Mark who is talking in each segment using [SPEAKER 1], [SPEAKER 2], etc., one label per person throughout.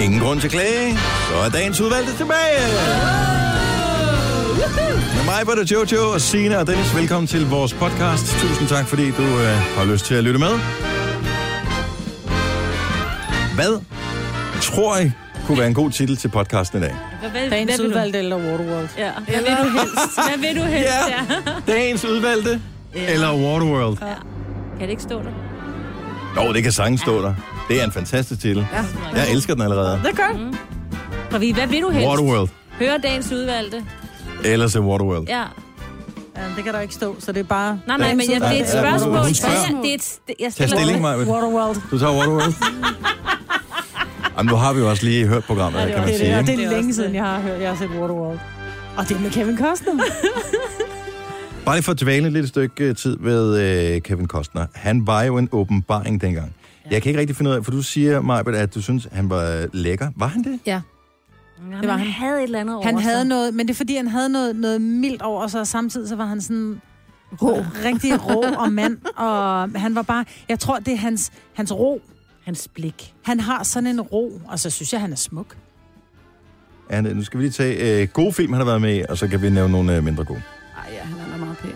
[SPEAKER 1] Ingen grund til klage. Så er dagens udvalgte tilbage. Med mig var det Jojo og Sina og Dennis. Velkommen til vores podcast. Tusind tak, fordi du øh, har lyst til at lytte med. Hvad tror I kunne være en god titel til podcasten i dag?
[SPEAKER 2] Hvad, hvad,
[SPEAKER 3] Dagens
[SPEAKER 2] vil du?
[SPEAKER 3] udvalgte eller Waterworld.
[SPEAKER 2] Ja. Hvad vil du helst? Hvad vil du helst?
[SPEAKER 1] Ja. Dagens udvalgte eller Waterworld?
[SPEAKER 2] Kan det ikke stå der?
[SPEAKER 1] Jo, det kan sangen stå der. Det er en fantastisk titel. Jeg elsker den allerede.
[SPEAKER 3] Det gør mm.
[SPEAKER 2] Fordi, hvad vil du helst?
[SPEAKER 1] Waterworld.
[SPEAKER 2] Høre dagens udvalgte.
[SPEAKER 1] Ellers er Waterworld.
[SPEAKER 2] Ja.
[SPEAKER 3] ja, det kan der ikke stå, så det er bare...
[SPEAKER 2] Nej, nej, men jeg, det er et
[SPEAKER 1] Ja, ja,
[SPEAKER 2] spørgsmål.
[SPEAKER 1] hun
[SPEAKER 2] Ja,
[SPEAKER 1] spørger.
[SPEAKER 2] det er et, det- jeg
[SPEAKER 1] Tag
[SPEAKER 2] stiller
[SPEAKER 1] stilling,
[SPEAKER 2] mig.
[SPEAKER 1] Maja.
[SPEAKER 3] Waterworld.
[SPEAKER 1] Du tager Waterworld. Jamen, nu har vi jo også lige hørt programmet,
[SPEAKER 2] Ja, det
[SPEAKER 1] kan
[SPEAKER 2] var
[SPEAKER 1] man
[SPEAKER 3] Det er, det,
[SPEAKER 1] sige.
[SPEAKER 3] og det
[SPEAKER 1] ikke?
[SPEAKER 2] Det
[SPEAKER 3] er
[SPEAKER 2] er
[SPEAKER 3] længe
[SPEAKER 2] også
[SPEAKER 3] siden,
[SPEAKER 2] det.
[SPEAKER 3] jeg har hørt, jeg har set Waterworld. Og det er med Kevin Costner.
[SPEAKER 1] Bare lige for at dvæle et lille stykke øh, tid ved øh, Kevin Costner. Han var jo en åbenbaring dengang. Jeg kan ikke rigtig finde ud af, for du siger, Majbert, at du synes, han var øh, lækker. Var han det?
[SPEAKER 3] ja.
[SPEAKER 2] Jamen,
[SPEAKER 3] Det var
[SPEAKER 2] han
[SPEAKER 3] han.
[SPEAKER 2] havde et eller andet over
[SPEAKER 3] Han
[SPEAKER 2] sig.
[SPEAKER 3] havde noget, men det er fordi, han havde noget, noget mildt over sig, og samtidig så var han sådan rå. rigtig rå og mand. Og han var bare, jeg tror, det er hans, hans ro.
[SPEAKER 2] Hans blik.
[SPEAKER 3] Han har sådan en ro, og så synes jeg, han er smuk.
[SPEAKER 1] Ja, nu skal vi lige tage øh, gode film, han har været med i, og så kan vi nævne nogle øh, mindre gode.
[SPEAKER 4] Ej, ja, han er da meget pæn.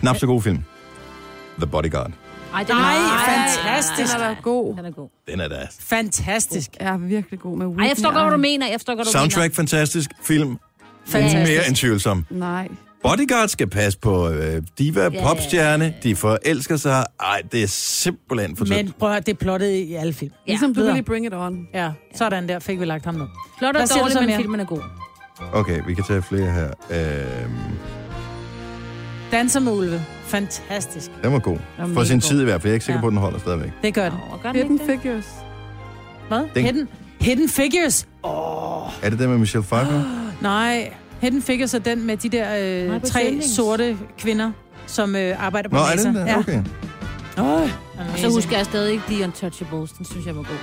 [SPEAKER 1] Knap så gode film. The Bodyguard.
[SPEAKER 2] Ej, det
[SPEAKER 3] Ej,
[SPEAKER 2] meget-
[SPEAKER 3] fantastisk.
[SPEAKER 4] Han er da god.
[SPEAKER 2] Han er god.
[SPEAKER 1] Den er da...
[SPEAKER 3] Fantastisk.
[SPEAKER 4] Jeg er virkelig god med Whitney.
[SPEAKER 2] Ej, jeg forstår godt, hvad du mener. Jeg forstår godt, hvad du
[SPEAKER 1] Soundtrack, fantastisk. Film,
[SPEAKER 3] Fantastisk.
[SPEAKER 1] mere end tvivlsom.
[SPEAKER 4] Nej.
[SPEAKER 1] Bodyguard skal passe på øh, diva,
[SPEAKER 2] ja,
[SPEAKER 1] popstjerne. De forelsker sig. Ej, det er simpelthen for tyndt.
[SPEAKER 3] Men prøv at høre, det er plottet i alle film.
[SPEAKER 2] Ja.
[SPEAKER 4] Ligesom du
[SPEAKER 3] Videre.
[SPEAKER 4] ville Bring It On.
[SPEAKER 3] Ja, sådan der fik vi lagt ham ned.
[SPEAKER 2] mener. Flot og
[SPEAKER 3] Hvad siger du
[SPEAKER 2] dårligt,
[SPEAKER 3] så
[SPEAKER 2] men
[SPEAKER 3] mere?
[SPEAKER 2] filmen er god.
[SPEAKER 1] Okay, vi kan tage flere her. Øh,
[SPEAKER 3] Danser med ulve. Fantastisk.
[SPEAKER 1] Den var god.
[SPEAKER 4] var
[SPEAKER 1] For
[SPEAKER 4] mega
[SPEAKER 1] sin
[SPEAKER 4] god.
[SPEAKER 1] tid i hvert fald. Jeg er ikke sikker
[SPEAKER 3] Ja.
[SPEAKER 1] på, at den holder stadigvæk.
[SPEAKER 3] Det gør den.
[SPEAKER 2] Nå, gør den
[SPEAKER 4] Hidden
[SPEAKER 2] ikke det?
[SPEAKER 4] Figures.
[SPEAKER 3] Hvad?
[SPEAKER 1] Den-
[SPEAKER 3] Hidden, Hidden Figures.
[SPEAKER 1] Er det den med Michelle Pfeiffer?
[SPEAKER 3] Nej, Hidden Figures er den med de der
[SPEAKER 2] Nej,
[SPEAKER 3] øh,
[SPEAKER 2] på
[SPEAKER 3] tre
[SPEAKER 2] Sendings.
[SPEAKER 3] sorte kvinder, som øh, arbejder på
[SPEAKER 1] Nå, er det
[SPEAKER 3] NASA.
[SPEAKER 1] den der? Okay.
[SPEAKER 3] Ja.
[SPEAKER 2] Og så husker jeg stadig ikke The Untouchables. Den synes jeg var god.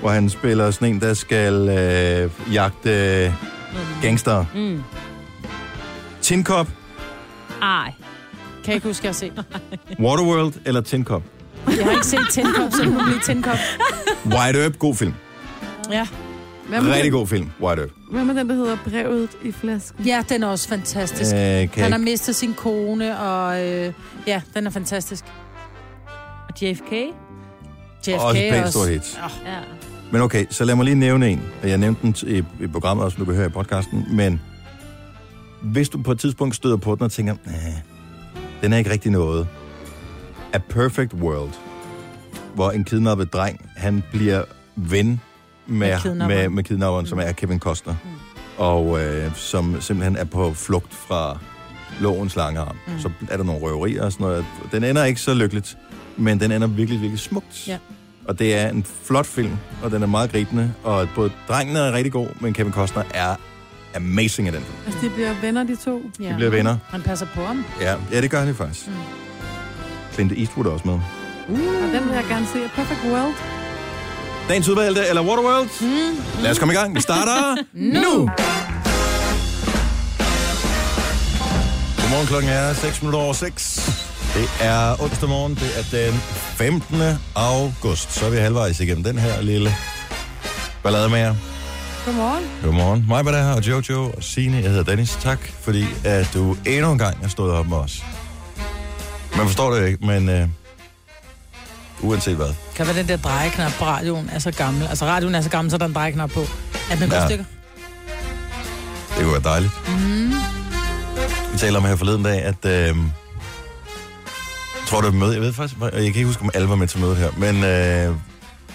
[SPEAKER 1] Hvor han spiller sådan en, der skal øh, jagte øh, gangster.
[SPEAKER 2] Mm.
[SPEAKER 1] Tin Cup,
[SPEAKER 2] Ej.
[SPEAKER 3] Kan jeg ikke huske, jeg har set.
[SPEAKER 1] Waterworld eller Tin Cup?
[SPEAKER 3] Jeg har ikke set Tin Cup, så det må blive Tin Cup.
[SPEAKER 1] White Earp, god film.
[SPEAKER 3] Ja.
[SPEAKER 4] Hvad med,
[SPEAKER 1] Rigtig
[SPEAKER 4] den,
[SPEAKER 1] god film, White Earp.
[SPEAKER 4] hvad med den, der hedder Brevet i flasken?
[SPEAKER 3] ja, den er også fantastisk.
[SPEAKER 1] Øh,
[SPEAKER 3] Øh,
[SPEAKER 1] kan
[SPEAKER 3] han
[SPEAKER 1] jeg
[SPEAKER 3] har
[SPEAKER 1] ikke-
[SPEAKER 3] mistet sin kone, og øh, ja, den er fantastisk.
[SPEAKER 2] Og JFK?
[SPEAKER 3] JFK
[SPEAKER 1] Også et pænt
[SPEAKER 3] også.
[SPEAKER 1] stort hit.
[SPEAKER 2] Ja.
[SPEAKER 1] Men okay, så lad mig lige nævne en. Og Jeg nævnte den t- i, i programmet også, nu behøver i podcasten. Men hvis du på et tidspunkt støder på den og tænker, nej, den er ikke rigtig noget. A Perfect World, hvor en kidnappet dreng, han bliver ven med,
[SPEAKER 3] Med
[SPEAKER 1] med,
[SPEAKER 3] kidnapperen.
[SPEAKER 1] med, med kidnapperen, mm. som er Kevin Costner. Mm. Og øh, som simpelthen er på flugt fra lovens lange arm. Mm. Så er der nogle røverier og sådan noget. Den ender ikke så lykkeligt, men den ender virkelig, virkelig smukt.
[SPEAKER 3] Ja.
[SPEAKER 1] Og det er en flot film, og den er meget gribende, og både drengen er rigtig god, men Kevin Costner er amazing i den film.
[SPEAKER 4] Altså, de bliver venner, de to.
[SPEAKER 3] Ja.
[SPEAKER 1] De bliver venner.
[SPEAKER 3] Han passer på ham.
[SPEAKER 1] Ja, ja det gør han jo faktisk. Mm. Clint Eastwood er også med.
[SPEAKER 4] Og den vil jeg gerne se. Perfect World.
[SPEAKER 1] Dagens udvalgte eller Waterworld? Mm. Lad os komme i gang. Vi starter nu! Godmorgen klokken er 6 minutter over 6. Det er onsdag morgen. Det er den 15. august. Så er vi halvvejs igennem den her lille ballade med jer.
[SPEAKER 4] Godmorgen.
[SPEAKER 1] Godmorgen. Mig var der her, og Jojo og Signe. Jeg hedder Dennis. Tak, fordi at du endnu en gang har stået op med os. Man forstår det jo ikke, men øh, uanset hvad.
[SPEAKER 3] Kan være den der drejeknap på radioen er så gammel. Altså radioen er så gammel, så der er en drejeknap på. Er den et godt
[SPEAKER 1] Ja.
[SPEAKER 3] stykke?
[SPEAKER 1] Det kunne være dejligt. Mm. Vi taler om her forleden dag, at... Øh, jeg tror, det var et møde. Jeg ved faktisk... Jeg kan ikke huske, om alle var med til mødet her. Men øh, er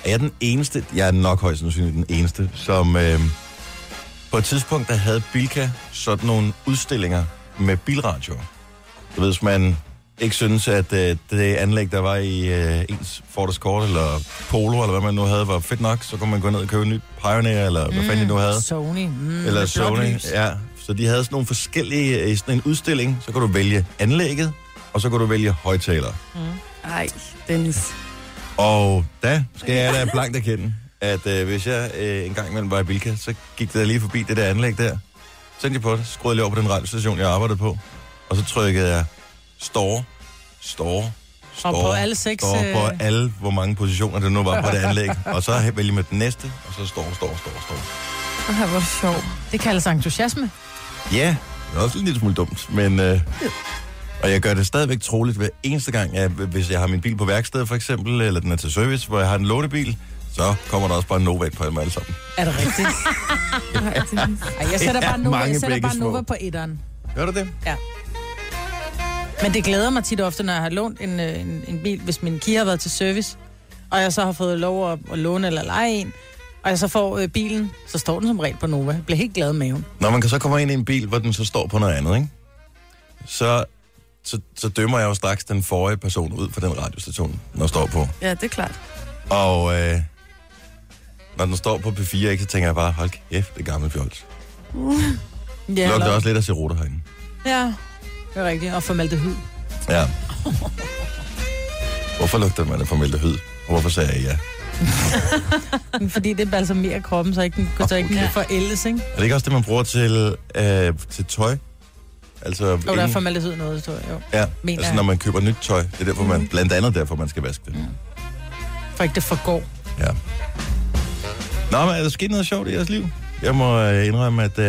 [SPEAKER 1] jeg den eneste... Jeg er nok højst sandsynligt den eneste, som... Øh, på et tidspunkt, der havde Bilka sådan nogle udstillinger med bilradioer. Du ved, hvis man ikke synes, at øh, det anlæg, der var i øh, ens Ford Escort eller Polo, eller hvad man nu havde, var fedt nok, så kunne man gå ned og købe en ny Pioneer, eller hvad fanden de nu havde.
[SPEAKER 3] Sony. Mm,
[SPEAKER 1] Eller
[SPEAKER 3] med blåt
[SPEAKER 1] Sony,
[SPEAKER 3] lys.
[SPEAKER 1] ja. Så de havde sådan nogle forskellige, øh, sådan en udstilling, så kan du vælge anlægget, og så kan du vælge højtaler.
[SPEAKER 4] Ej, Dennis.
[SPEAKER 1] Og der skal jeg da blankt erkende, at øh, hvis jeg øh, en gang imellem var i Bilka, så gik der lige forbi det der anlæg der. Så tænkte jeg på det, skruede lige over på den radiostation, jeg arbejdede på, og så trykkede jeg store, store,
[SPEAKER 3] Og på alle seks...
[SPEAKER 1] Står
[SPEAKER 3] øh,
[SPEAKER 1] på alle, hvor mange positioner det nu var på det anlæg. Og så vælger med den næste, og så står, står, står, står.
[SPEAKER 4] Ej, hvor sjovt.
[SPEAKER 3] Det kaldes entusiasme.
[SPEAKER 1] Ja, det er også en lille smule dumt, men... Øh, og jeg gør det stadigvæk troligt hver eneste gang, jeg, hvis jeg har min bil på værksted for eksempel, eller den er til service, hvor jeg har en lånebil, så kommer der også bare en Nova på dem alle sammen.
[SPEAKER 3] Er det rigtigt?
[SPEAKER 4] Ej, det er
[SPEAKER 3] Ej, jeg sætter
[SPEAKER 1] Det er
[SPEAKER 3] bare Nova,
[SPEAKER 1] mange
[SPEAKER 3] jeg sætter
[SPEAKER 1] begge
[SPEAKER 3] bare Nova
[SPEAKER 1] små.
[SPEAKER 3] på etteren.
[SPEAKER 1] Gør du det?
[SPEAKER 3] Men det glæder mig tit og ofte, når jeg har lånt en, øh, en, en bil, hvis min Kia har været til service, og jeg så har fået lov at, at låne eller lege en, og jeg så får øh, bilen, så står den som regel på Nova. Jeg bliver helt glad i maven.
[SPEAKER 1] Når man kan så komme ind i en bil, hvor den så står på noget andet, ikke? Så, så, så dømmer jeg jo straks den forrige person ud for den radiostation, når står på.
[SPEAKER 4] Ja, det er klart.
[SPEAKER 1] Og øh, når den står på P4, ikke, så tænker jeg bare, hold kæft, det er gammel fjols. Uh.
[SPEAKER 3] Ja,
[SPEAKER 1] Det lugter også lidt af cirutter herinde.
[SPEAKER 3] ja, det er rigtigt. Og formaldehyd.
[SPEAKER 1] Ja. Hvorfor lugter man af formaldehyd? Og hvorfor sagde jeg ja?
[SPEAKER 3] Fordi det balsamerer kroppen, så ikke den, så ikke den
[SPEAKER 1] Okay.
[SPEAKER 3] forældes, ikke?
[SPEAKER 1] Er det ikke også det, man bruger til, øh, til tøj? Altså,
[SPEAKER 3] Og der er
[SPEAKER 1] inden-
[SPEAKER 3] formaldehyd noget, tror jeg. Jo.
[SPEAKER 1] ja,
[SPEAKER 3] mener
[SPEAKER 1] altså
[SPEAKER 3] jeg. Mhm.
[SPEAKER 1] når man køber nyt tøj. Det er derfor, man, blandt andet derfor, man skal vaske det.
[SPEAKER 3] For ikke det forgår.
[SPEAKER 1] Ja. Nå, men er der sket noget sjovt i jeres liv? Jeg må øh, indrømme, at øh,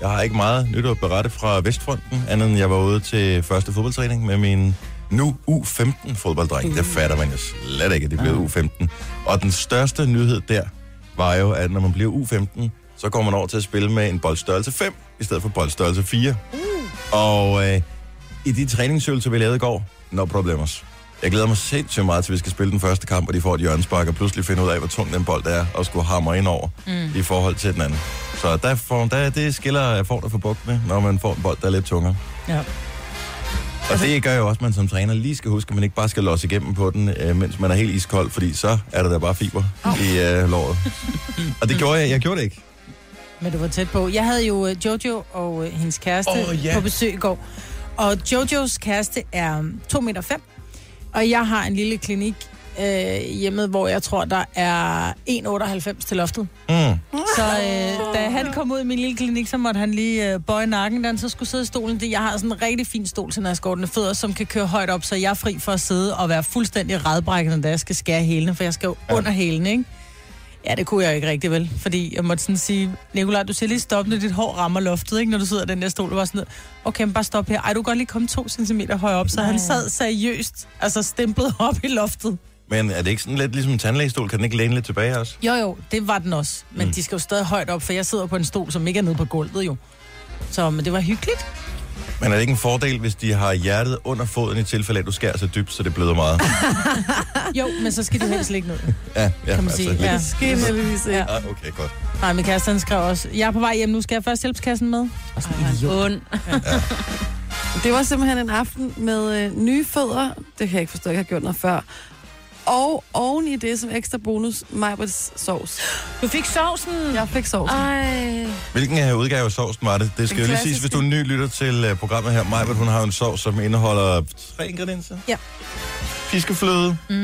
[SPEAKER 1] jeg har ikke meget nyt at berette fra Vestfronten, andet end jeg var ude til første fodboldtræning med min nu U15 fodbolddreng. Det fatter man jo slet ikke, at det blev U15. Og den største nyhed der var jo, at når man bliver U15, så går man over til at spille med en boldstørrelse 5 i stedet for boldstørrelse 4. Og øh, i de træningsøvelser, vi lavede i går, no problemers. Jeg glæder mig sindssygt meget til, at vi skal spille den første kamp, og de får et hjørnespark, og pludselig finder ud af, hvor tung den bold er, og skulle hamre ind over mm. i forhold til den anden. Så der får, der, det skiller får der for bugt med, når man får en bold, der er lidt tungere.
[SPEAKER 3] Ja.
[SPEAKER 1] Og det gør jo også, at man som træner lige skal huske, at man ikke bare skal losse igennem på den, øh, mens man er helt iskold, fordi så er der da bare fiber oh. i øh, låret. og det gjorde jeg. Jeg gjorde det ikke.
[SPEAKER 3] Men du var tæt på. Jeg havde jo øh, Jojo og øh, hendes kæreste
[SPEAKER 1] Åh,
[SPEAKER 3] oh,
[SPEAKER 1] ja.
[SPEAKER 3] yeah. på besøg i går. Og Jojos kæreste er øhm, 2,5 meter, fem, og jeg har en lille klinik øh, hjemme, hvor jeg tror, der er 1,98 til loftet.
[SPEAKER 1] Mm.
[SPEAKER 3] Så øh, da han kom ud i min lille klinik, så måtte han lige øh, bøje nakken, da han så skulle sidde i stolen. Det- Jeg har sådan en rigtig fin stol til naskårtene fødder, som kan køre højt op, så jeg er fri for at sidde og være fuldstændig redbrækkende, da jeg skal skære hælene, for jeg skal jo ja. under hælene, ikke? Ja, det kunne jeg jo ikke rigtig vel, fordi jeg måtte sådan sige, Nikolaj, du ser lige stop, når dit hår rammer loftet, ikke? Når du sidder i den der stol, du var sådan, noget, okay, men bare stop her. Ej, du kan godt lige komme to centimeter højere op, så han sad seriøst, altså stemplet op i loftet.
[SPEAKER 1] Men er det ikke sådan lidt ligesom en tandlægestol? Kan den ikke læne lidt tilbage også?
[SPEAKER 3] Jo, jo, det var den også. Men mm. de skal jo stadig højt op, for jeg sidder på en stol, som ikke er nede på gulvet jo. Så men det var hyggeligt.
[SPEAKER 1] Men er det ikke en fordel, hvis de har hjertet under foden i tilfælde af, at du skærer så dybt, så det bløder meget?
[SPEAKER 3] Jo, men så skal de helst ligge ned.
[SPEAKER 1] Ja, ja
[SPEAKER 3] Kan man sige,
[SPEAKER 1] lidt-
[SPEAKER 3] ja.
[SPEAKER 4] Det sker heldigvis ikke.
[SPEAKER 3] Ja.
[SPEAKER 1] Ah, okay, godt.
[SPEAKER 3] Nej, min kæreste, han skrev også, jeg er på vej hjem nu, skal jeg først hjælpskassen med?
[SPEAKER 2] Und.
[SPEAKER 4] Det var simpelthen en aften med øh, nye fødder. Det kan jeg ikke forstå, at jeg har gjort noget før. Og oven i det som ekstra bonus, Majbrits sovs.
[SPEAKER 2] Du fik sovsen.
[SPEAKER 4] Jeg fik sovs.
[SPEAKER 2] Ej.
[SPEAKER 1] Hvilken af udgave af sovsen var det? Det skal
[SPEAKER 4] Den
[SPEAKER 1] jo lige siges,
[SPEAKER 4] klassiske.
[SPEAKER 1] hvis du er ny lytter til øh, programmet her. Maja, hun har jo en sovs, som indeholder tre ingredienser.
[SPEAKER 3] Ja.
[SPEAKER 1] Fiskefløde.
[SPEAKER 3] Mm.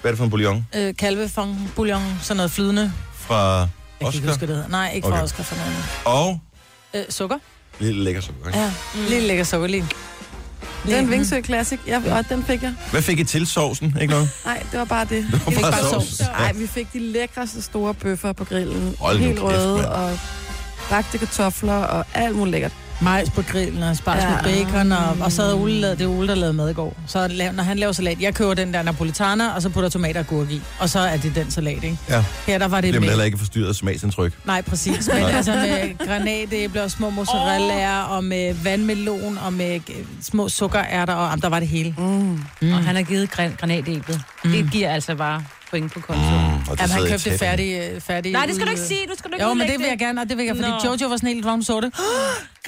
[SPEAKER 1] Hvad er det for en bouillon?
[SPEAKER 3] Øh, kalvefong, bouillon, sådan noget flydende.
[SPEAKER 1] Fra
[SPEAKER 3] Jeg kan ikke
[SPEAKER 1] Oscar.
[SPEAKER 3] huske, hvad det hedder. Nej, ikke fra
[SPEAKER 1] Okay.
[SPEAKER 3] Oscar, for noget.
[SPEAKER 1] Og
[SPEAKER 3] Øh, sukker.
[SPEAKER 1] lille lækker sukker. ikke?
[SPEAKER 3] Ja, mm. lidt lækker sukker lige.
[SPEAKER 4] Det er en Vingsø Classic. Ja, og den fik jeg.
[SPEAKER 1] Hvad fik I til sovsen? Ikke noget?
[SPEAKER 4] Nej, det var bare det.
[SPEAKER 1] Det var
[SPEAKER 3] fik bare sovs.
[SPEAKER 1] Ja.
[SPEAKER 4] Nej, vi fik de lækreste store bøffer på grillen.
[SPEAKER 1] Hold nu
[SPEAKER 4] Helt
[SPEAKER 1] kæft,
[SPEAKER 4] røde
[SPEAKER 1] mand.
[SPEAKER 4] og bagte kartofler og alt muligt lækkert.
[SPEAKER 3] Majs på grillen og spars ja.
[SPEAKER 4] Ja.
[SPEAKER 3] med bacon, og, og så havde Ole lavet, det var Ole, der lavede mad i går. Så lav, når han laver salat, jeg køber den der napolitaner, og så putter tomater og gurk i, og så er det den salat, ikke?
[SPEAKER 1] Ja.
[SPEAKER 3] Her der var det
[SPEAKER 1] Bliver man
[SPEAKER 3] med.
[SPEAKER 1] heller ikke forstyrret af smagsindtryk.
[SPEAKER 3] Nej, præcis. Men altså med granatæbler og små mozzarellaer, og med vandmelon, og med øh, små sukkerærter, og jamen, der var det hele.
[SPEAKER 4] Mm.
[SPEAKER 2] Mm. Og han har givet gran- granatæblet. Mm. Det giver altså bare point på kontoen. Mm.
[SPEAKER 1] Mm, og
[SPEAKER 3] Jamen, han
[SPEAKER 1] sidder i
[SPEAKER 3] købte det
[SPEAKER 1] tætheden.
[SPEAKER 3] færdige, øh, færdige...
[SPEAKER 2] Nej, det skal du
[SPEAKER 3] ude-
[SPEAKER 2] ikke sige. Du skal du ikke
[SPEAKER 3] Jo, men
[SPEAKER 2] udlægge
[SPEAKER 3] det vil jeg gerne, og det vil jeg, fordi
[SPEAKER 2] Nå.
[SPEAKER 3] Jojo var sådan helt, hvor hun så det.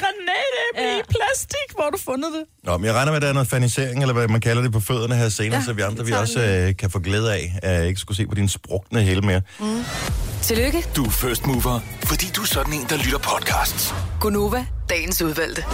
[SPEAKER 3] Granatæble
[SPEAKER 2] Ja.
[SPEAKER 3] plastik, hvor har du fundet det?
[SPEAKER 1] Nå, men jeg regner med, at der er noget fanisering, eller hvad man kalder det på fødderne her senere, ja,
[SPEAKER 4] Ja,
[SPEAKER 1] så vi andre
[SPEAKER 4] vi
[SPEAKER 1] vi
[SPEAKER 4] tager
[SPEAKER 1] også
[SPEAKER 4] den.
[SPEAKER 1] øh, kan få glæde af, at jeg ikke skulle se på din sprukne hæle mere.
[SPEAKER 5] Tillykke,
[SPEAKER 6] Du er first mover, fordi du er sådan en, der lytter podcasts.
[SPEAKER 5] Gunova, dagens udvalgte.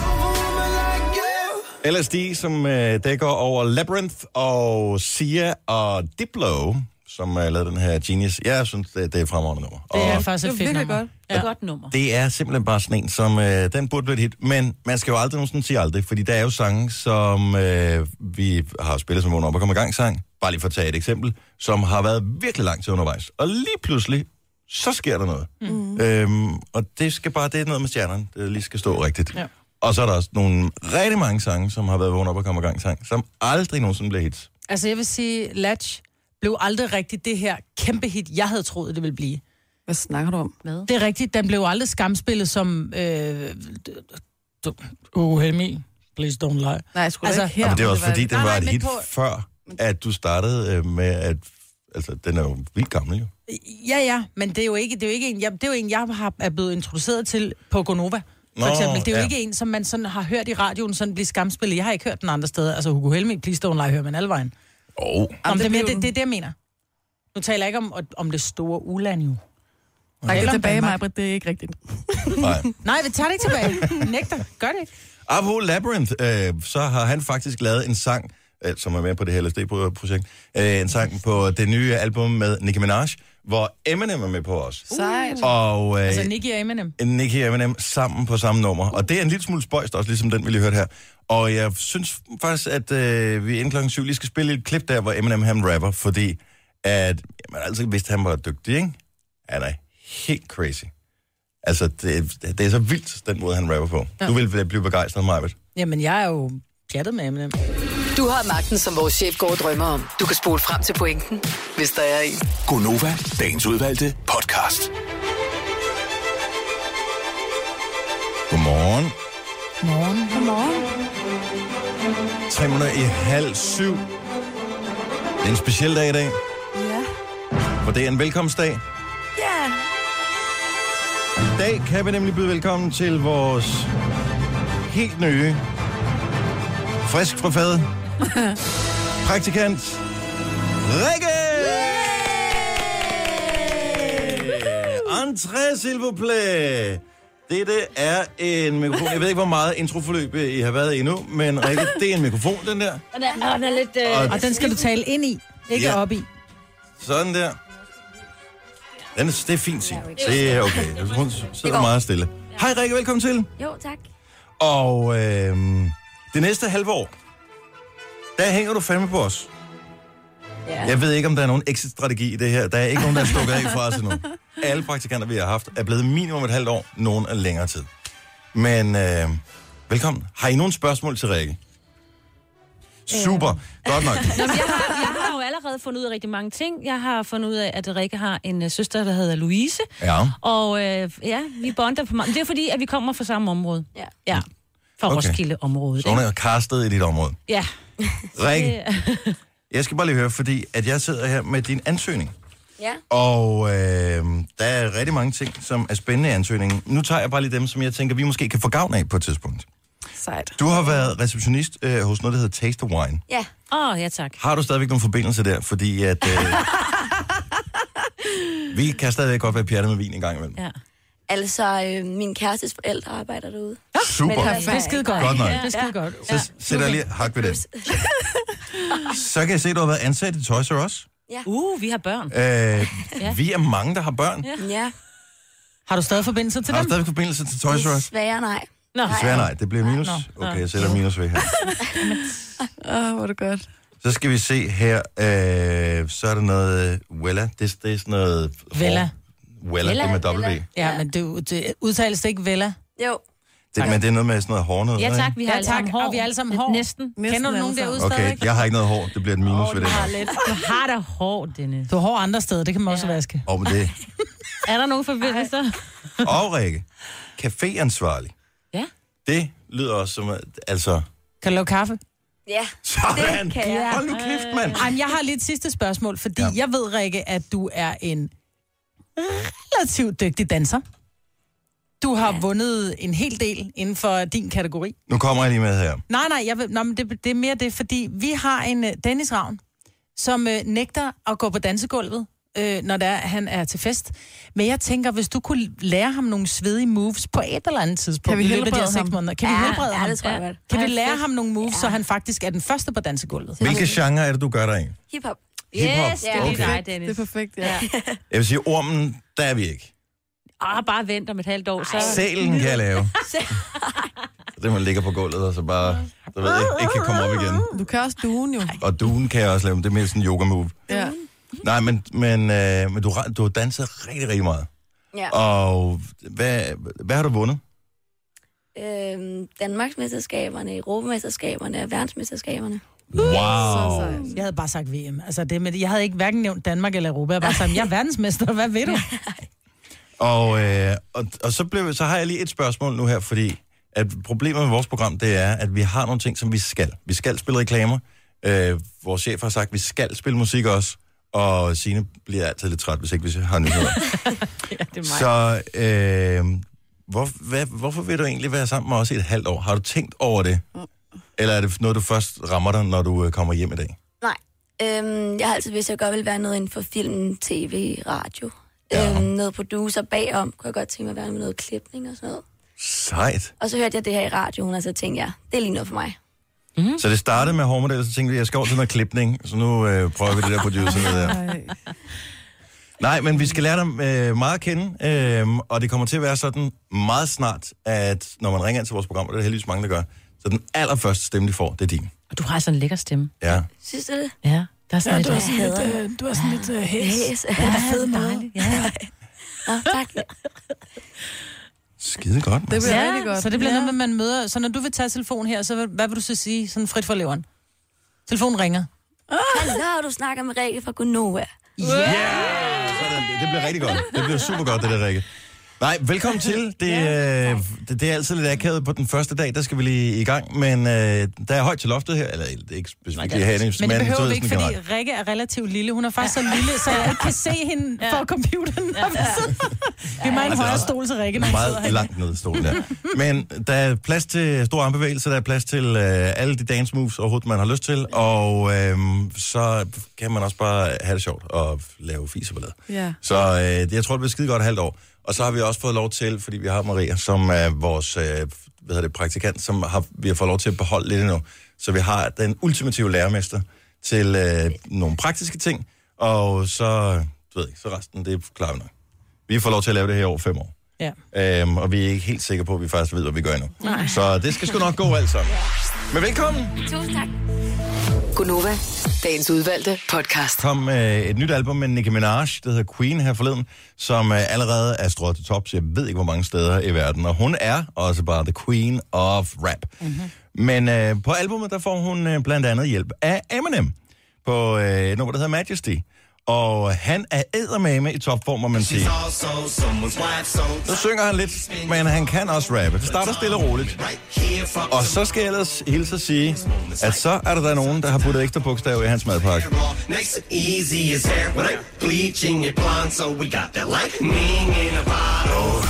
[SPEAKER 1] LSD, som øh, dækker over Labyrinth og Sia og Diplo, som har lavet den her Genius. Jeg synes, det, det er et fremragende nummer.
[SPEAKER 3] Det er
[SPEAKER 1] Og
[SPEAKER 3] faktisk
[SPEAKER 4] Det
[SPEAKER 3] et
[SPEAKER 4] var
[SPEAKER 3] fedt
[SPEAKER 4] virkelig
[SPEAKER 3] nummer.
[SPEAKER 4] godt.
[SPEAKER 2] Ja. Et godt nummer.
[SPEAKER 1] det er simpelthen bare sådan en, som øh, den burde blive et hit. Men man skal jo aldrig nogensinde sige aldrig, fordi der er jo sange, som øh, vi har spillet som vågen op og kommer i gang sang, bare lige for at tage et eksempel, som har været virkelig lang tid undervejs. Og lige pludselig, så sker der noget. Mm. Øhm, og det skal bare, det er noget med stjernerne, det lige skal stå rigtigt. Ja.
[SPEAKER 3] Ja.
[SPEAKER 1] Og så er der også nogle rigtig mange sange, som har været vågen op og kommer i gang sang, som aldrig nogensinde bliver hits.
[SPEAKER 3] Altså, jeg vil sige, Latch blev aldrig rigtigt det her kæmpe hit, jeg havde troet, det ville blive.
[SPEAKER 4] Hvad snakker du om?
[SPEAKER 2] Hvad?
[SPEAKER 3] Det er rigtigt, den blev jo aldrig skamspillet som... Øh, oh, Helmi, please don't lie.
[SPEAKER 4] Nej, jeg skulle
[SPEAKER 3] Altså,
[SPEAKER 4] altså, ikke her.
[SPEAKER 1] Ja, men det er også fordi,
[SPEAKER 4] Nej,
[SPEAKER 1] den var
[SPEAKER 4] nej,
[SPEAKER 1] et
[SPEAKER 4] men
[SPEAKER 1] hit
[SPEAKER 4] på-
[SPEAKER 1] før, at du startede øh, med at... Altså, den er jo vildt gammel, jo.
[SPEAKER 3] Ja, ja, men det er jo ikke, det er jo ikke en, jeg, det er jo en, jeg har, er blevet introduceret til på Gonova. For
[SPEAKER 1] Nå,
[SPEAKER 3] eksempel, det er jo
[SPEAKER 1] ja.
[SPEAKER 3] ja. ikke en, som man sådan har hørt i radioen sådan blive skamspillet. Jeg har ikke hørt den andre steder. Altså, Hugo Helmi, please don't lie, hører man alle vejen.
[SPEAKER 1] Oh.
[SPEAKER 3] Jamen, det,
[SPEAKER 4] det
[SPEAKER 3] er mere,
[SPEAKER 4] blev den.
[SPEAKER 3] det, det, er det, jeg mener. Nu taler jeg ikke om, om det store uland jo.
[SPEAKER 4] Nej, det
[SPEAKER 3] Eller
[SPEAKER 4] er
[SPEAKER 3] om
[SPEAKER 4] tilbage,
[SPEAKER 3] Danmark.
[SPEAKER 4] Majbrit, det er ikke rigtigt.
[SPEAKER 1] Nej.
[SPEAKER 3] Nej, vi tager det ikke tilbage. Nægter. Gør det ikke.
[SPEAKER 1] Apropos Labyrinth, øh, så har han faktisk lavet en sang, øh, som er med på det her LSD-projekt, øh, en sang på det nye album med Nicki Minaj, hvor Eminem er med på os.
[SPEAKER 4] Sejt.
[SPEAKER 1] Og øh,
[SPEAKER 3] Altså, Nicky og Eminem.
[SPEAKER 1] Nicki og Eminem sammen på samme nummer. Og det er en lille smule spøjst også, ligesom den, vi lige hørte her. Og jeg synes faktisk, at øh, vi inden klokken syv lige skal spille et klip der, hvor Eminem han rapper, fordi at man altid vidste, at han var dygtig, ikke? Han er helt crazy. Altså, det, det er så vildt, den måde, han rapper på. Ja. Du vil øh, blive begejstret, Marvitt.
[SPEAKER 3] Jamen, jeg er jo pjattet med Eminem.
[SPEAKER 5] Du har magten, som vores chef går og drømmer om. Du kan spole frem til pointen, hvis der er en.
[SPEAKER 6] Gonova, dagens udvalgte podcast.
[SPEAKER 1] Godmorgen.
[SPEAKER 3] Morgen.
[SPEAKER 4] Godmorgen.
[SPEAKER 1] 3 minutter i halv syv. Det er en speciel dag i dag,
[SPEAKER 4] Ja.
[SPEAKER 1] for det er en velkomstdag.
[SPEAKER 4] Ja.
[SPEAKER 1] I dag kan vi nemlig byde velkommen til vores helt nye, frisk fra fad, praktikant, Rikke! Entré, s'il vous plaît. Dette er en mikrofon. Jeg ved ikke, hvor meget introforløb øh, I har været i endnu, men Rikke, det er en mikrofon, den der.
[SPEAKER 2] Den er, den er lidt... Øh...
[SPEAKER 3] Og den skal du tale ind i, ikke
[SPEAKER 1] Ja.
[SPEAKER 3] ja. op i.
[SPEAKER 1] Sådan der. Den er, det er fint, Signe. Det er okay. Hun sidder meget stille. Hej Rikke, velkommen til.
[SPEAKER 7] Jo, tak.
[SPEAKER 1] Og øh, det næste halve år, der hænger du fandme på os.
[SPEAKER 7] Ja.
[SPEAKER 1] Jeg ved ikke, om der er nogen exit-strategi i det her. Der er ikke nogen, der er stukket af fra os endnu. Alle praktikanter, vi har haft, er blevet minimum et halvt år. Nogen er længere tid. Men øh, velkommen. Har I nogen spørgsmål til Rikke? Super. Godt nok.
[SPEAKER 7] Jamen, jeg har...
[SPEAKER 2] Jeg har jo allerede fundet ud af rigtig mange ting. Jeg har fundet ud af, at Rikke har en øh, søster, der hedder Louise.
[SPEAKER 1] Ja.
[SPEAKER 2] Og øh, ja, vi bonder på mange. Det er fordi, at vi kommer fra samme område.
[SPEAKER 7] Ja.
[SPEAKER 2] Ja, fra
[SPEAKER 1] Okay.
[SPEAKER 2] okay. Roskilde-området.
[SPEAKER 1] Så hun
[SPEAKER 2] ikke?
[SPEAKER 1] er kastet i dit område.
[SPEAKER 2] Ja.
[SPEAKER 1] Rikke, Jeg skal bare lige høre, fordi at jeg sidder her med din ansøgning.
[SPEAKER 7] Ja.
[SPEAKER 1] Og øh, der er rigtig mange ting, som er spændende i ansøgningen. Nu tager jeg bare lige dem, som jeg tænker, vi måske kan få gavn af på et tidspunkt.
[SPEAKER 4] Sejt.
[SPEAKER 1] Du har været receptionist øh, hos noget, der hedder Taste of Wine.
[SPEAKER 7] Ja.
[SPEAKER 2] Åh, oh, ja tak.
[SPEAKER 1] Har du stadigvæk nogle forbindelser der? Fordi at... Øh, vi kan stadigvæk godt være pjattet med vin en gang imellem.
[SPEAKER 2] Ja.
[SPEAKER 7] Altså, øh, min kærestes forældre arbejder derude.
[SPEAKER 1] Super.
[SPEAKER 7] Men
[SPEAKER 3] Det er skide godt.
[SPEAKER 1] Godt nok.
[SPEAKER 3] Det er skide godt.
[SPEAKER 1] Så sætter jeg lige hak ved det. Så kan jeg se, at du har været ansat i Toys R Us.
[SPEAKER 2] Uh, vi har børn.
[SPEAKER 1] Øh,
[SPEAKER 2] Ja.
[SPEAKER 1] vi er mange, der har børn.
[SPEAKER 7] Ja.
[SPEAKER 3] Har du stadig forbindelse til
[SPEAKER 1] Har
[SPEAKER 3] dem?
[SPEAKER 1] du stadigvæk forbindelse til Toys R Us?
[SPEAKER 7] Desværre nej.
[SPEAKER 2] Nå,
[SPEAKER 1] Svær nej, det bliver minus. Okay, jeg sætter minus ved her.
[SPEAKER 4] Åh, hvor er det godt.
[SPEAKER 1] Så skal vi se her, øh, så er der noget øh, Wella, det, det er sådan noget... for-
[SPEAKER 3] Vella.
[SPEAKER 1] Wella, det er med W.
[SPEAKER 7] Vella.
[SPEAKER 3] Ja, men det, det udtales det ikke Vella.
[SPEAKER 7] Jo.
[SPEAKER 1] Det, men det er noget med sådan noget hårnød.
[SPEAKER 2] Ja tak, vi har
[SPEAKER 3] Ja,
[SPEAKER 2] alle
[SPEAKER 3] tak.
[SPEAKER 2] sammen hår.
[SPEAKER 3] Og vi er alle sammen hår.
[SPEAKER 2] Næsten.
[SPEAKER 4] Næsten
[SPEAKER 3] Kender du nogen
[SPEAKER 4] alle
[SPEAKER 3] derude
[SPEAKER 4] sammen.
[SPEAKER 3] stadigvæk?
[SPEAKER 1] Okay, jeg har ikke noget hår, det bliver et minus ved det her.
[SPEAKER 2] Du har da hår, Dennis.
[SPEAKER 3] Du har hår andre steder, det kan man også
[SPEAKER 2] Ja.
[SPEAKER 3] vaske.
[SPEAKER 1] Og med det.
[SPEAKER 2] Er der nogen forbindelser?
[SPEAKER 1] Og Rikke, caféansvarlig.
[SPEAKER 2] Ja.
[SPEAKER 1] Det lyder også som, at- altså...
[SPEAKER 3] Kan du lave kaffe?
[SPEAKER 7] Ja.
[SPEAKER 1] Sådan!
[SPEAKER 7] Det kan jeg.
[SPEAKER 1] Hold nu kæft, mand!
[SPEAKER 3] Ej, men jeg har lige et sidste spørgsmål, fordi
[SPEAKER 1] Ja.
[SPEAKER 3] ja. jeg ved, Rikke, at du er en relativt dygtig danser. Du har ja. vundet en hel del inden for din kategori.
[SPEAKER 1] Nu kommer jeg lige med her.
[SPEAKER 3] Nej, nej, jeg ved, nå, men det, det er mere det, fordi vi har en øh, Dennis Ravn, som øh, nægter at gå på dansegulvet, øh, når der, han er til fest. Men jeg tænker, hvis du kunne lære ham nogle svedige moves på et eller andet tidspunkt.
[SPEAKER 4] Kan vi
[SPEAKER 3] i løbet af de her
[SPEAKER 4] helbrede
[SPEAKER 3] seks
[SPEAKER 4] ham?
[SPEAKER 3] Måneder. Kan vi
[SPEAKER 7] Ja,
[SPEAKER 3] helbrede
[SPEAKER 7] ja,
[SPEAKER 3] ham?
[SPEAKER 7] det tror jeg godt.
[SPEAKER 3] Kan vi
[SPEAKER 7] Ej,
[SPEAKER 3] lære
[SPEAKER 7] fedt.
[SPEAKER 3] ham nogle moves, ja. så han faktisk er den første på dansegulvet?
[SPEAKER 1] Hvilke genre er det, du gør dig i?
[SPEAKER 7] Hip-hop.
[SPEAKER 1] Hiphop?
[SPEAKER 2] Yes, det er lige
[SPEAKER 1] okay.
[SPEAKER 2] dig,
[SPEAKER 4] Det er
[SPEAKER 2] Dennis.
[SPEAKER 4] perfekt, ja.
[SPEAKER 1] Jeg vil sige, ormen, der er vi ikke.
[SPEAKER 2] Ah, bare vent om et halvt år, så...
[SPEAKER 1] Sælen kan jeg lave. Det man ligger på gulvet, og så bare, så ved jeg, ikke kan komme op igen.
[SPEAKER 4] Du kan også duen jo.
[SPEAKER 1] Og duen kan jeg også lave, men det er mere sådan en yoga move.
[SPEAKER 4] Ja.
[SPEAKER 1] Nej, men, men, øh, men du, har- du har danset rigtig, rigtig meget.
[SPEAKER 7] Ja.
[SPEAKER 1] Og hvad, hvad har du vundet?
[SPEAKER 7] Øhm, Danmarksmesterskaberne, Europamesterskaberne og verdensmesterskaberne.
[SPEAKER 1] Wow.
[SPEAKER 3] Jeg havde bare sagt VM. Altså det med, jeg havde ikke hverken nævnt Danmark eller Europa. Jeg var sådan, jeg er verdensmester, hvad ved du?
[SPEAKER 1] Og, øh, og, og så, blev, så har jeg lige et spørgsmål nu her, fordi at problemet med vores program, det er, at vi har nogle ting, som vi skal. Vi skal spille reklamer. Øh, vores chef har sagt, at vi skal spille musik også. Og Signe bliver altid lidt træt, hvis ikke vi har nyheder.
[SPEAKER 2] Det er mig.
[SPEAKER 1] så øh, hvor, hvad, hvorfor vil du egentlig være sammen med os i et halvt år? Har du tænkt over det?
[SPEAKER 2] Mm.
[SPEAKER 1] Eller er det noget, du først rammer dig, når du øh, kommer hjem i dag?
[SPEAKER 7] Nej. Øhm, jeg har altid vidst, at jeg godt ville være noget inden for film, tv, radio. Ja. Øhm, noget producer bagom. Kunne jeg godt tænke mig at være med noget klipning og sådan noget.
[SPEAKER 1] Sejt.
[SPEAKER 7] Og så hørte jeg det her i radioen, og så tænkte jeg, det er lige noget for mig.
[SPEAKER 3] Mhm.
[SPEAKER 1] Mm. Så det startede med hårdmodel, så tænkte vi, jeg skal over til noget klipning. Så nu øh, prøver vi det der producer der.
[SPEAKER 4] Ej.
[SPEAKER 1] Nej, men vi skal lære dem øh, meget at kende, øh, og det kommer til at være sådan meget snart, at når man ringer ind til vores program, og det er heldigvis mange, der gør, så den allerførste stemme, de får, det er din.
[SPEAKER 2] Og du har sådan en lækker stemme.
[SPEAKER 1] Ja.
[SPEAKER 7] Synes du det?
[SPEAKER 2] Ja, der er sådan ja, lidt...
[SPEAKER 7] hader det.
[SPEAKER 3] Øh, Du er sådan lidt uh,
[SPEAKER 7] Yes. Ja, fed måde.
[SPEAKER 2] Dejligt. Ja.
[SPEAKER 7] Nå, tak.
[SPEAKER 1] Skide godt,
[SPEAKER 4] Det
[SPEAKER 1] man.
[SPEAKER 4] bliver
[SPEAKER 2] Ja,
[SPEAKER 4] rigtig godt.
[SPEAKER 3] Så det bliver
[SPEAKER 4] ja.
[SPEAKER 3] noget med, at man møder... Så når du vil tage telefonen her, så hvad- hvad vil du så sige sådan frit for leveren? Telefonen ringer.
[SPEAKER 7] Ah! Hallo, du snakker med Rikke fra Gunova.
[SPEAKER 1] Sådan, det bliver rigtig godt. Det bliver super godt, det der, Rikke. Nej, velkommen til. Det, øh, det, det er altid lidt akavet på den første dag, der skal vi lige i gang, men øh, der er højt til loftet her, eller det er ikke specifikt lige herinde,
[SPEAKER 3] Men det
[SPEAKER 1] du
[SPEAKER 3] behøver
[SPEAKER 1] ved
[SPEAKER 3] vi ikke,
[SPEAKER 1] sådan
[SPEAKER 3] fordi
[SPEAKER 1] generelt.
[SPEAKER 3] Rikke er relativt lille. Hun er faktisk så lille, så jeg ikke kan se hende på computeren. når vi sidder. Det er mig en
[SPEAKER 1] Altså,
[SPEAKER 3] højere stol til Rikke, når hun sidder
[SPEAKER 1] meget
[SPEAKER 3] her.
[SPEAKER 1] langt ned i stolen der. Men der er plads til store armbevægelser, der er plads til øh, alle de dance moves overhovedet, man har lyst til, og øh, så kan man også bare have det sjovt og lave fis og ballade.
[SPEAKER 4] Ja.
[SPEAKER 1] Så øh, det- jeg tror, det bliver skide godt et halvt år. Og så har vi også fået lov til, fordi vi har Maria, som er vores øh, hvad hedder det, praktikant, som har, vi har fået lov til at beholde lidt endnu. Så vi har den ultimative lærermester til øh, nogle praktiske ting, og så, du ved jeg, så resten, det klarer vi nok. Vi får lov til at lave det her over fem år.
[SPEAKER 3] Ja.
[SPEAKER 1] Øhm, og vi er ikke helt sikre på, at vi faktisk ved, hvad vi gør endnu. Nej. Så det skal sgu nok gå alt sammen. Men velkommen!
[SPEAKER 7] Tusind tak.
[SPEAKER 5] Gunova, dagens udvalgte podcast.
[SPEAKER 1] kom øh, et nyt album med Nicki Minaj, der hedder Queen her forleden, som øh, allerede er strået til tops, jeg ved ikke hvor mange steder i verden, og hun er også bare the queen of rap. Mm-hmm. Men øh, på albumet, der får hun øh, blandt andet hjælp af Eminem på øh, et nummer, der hedder Majesty. Og han er eddermame i topform, må man sige. Så synger han lidt, men han kan også rappe. Det starter stille og roligt. Og så skal jeg ellers hilse at sige, at så er der, der nogen, der har puttet ekstra bogstaver i hans madpakke.
[SPEAKER 8] Nice and easy is hair when I'm bleaching it blonde, so we got that lightning in a bottle.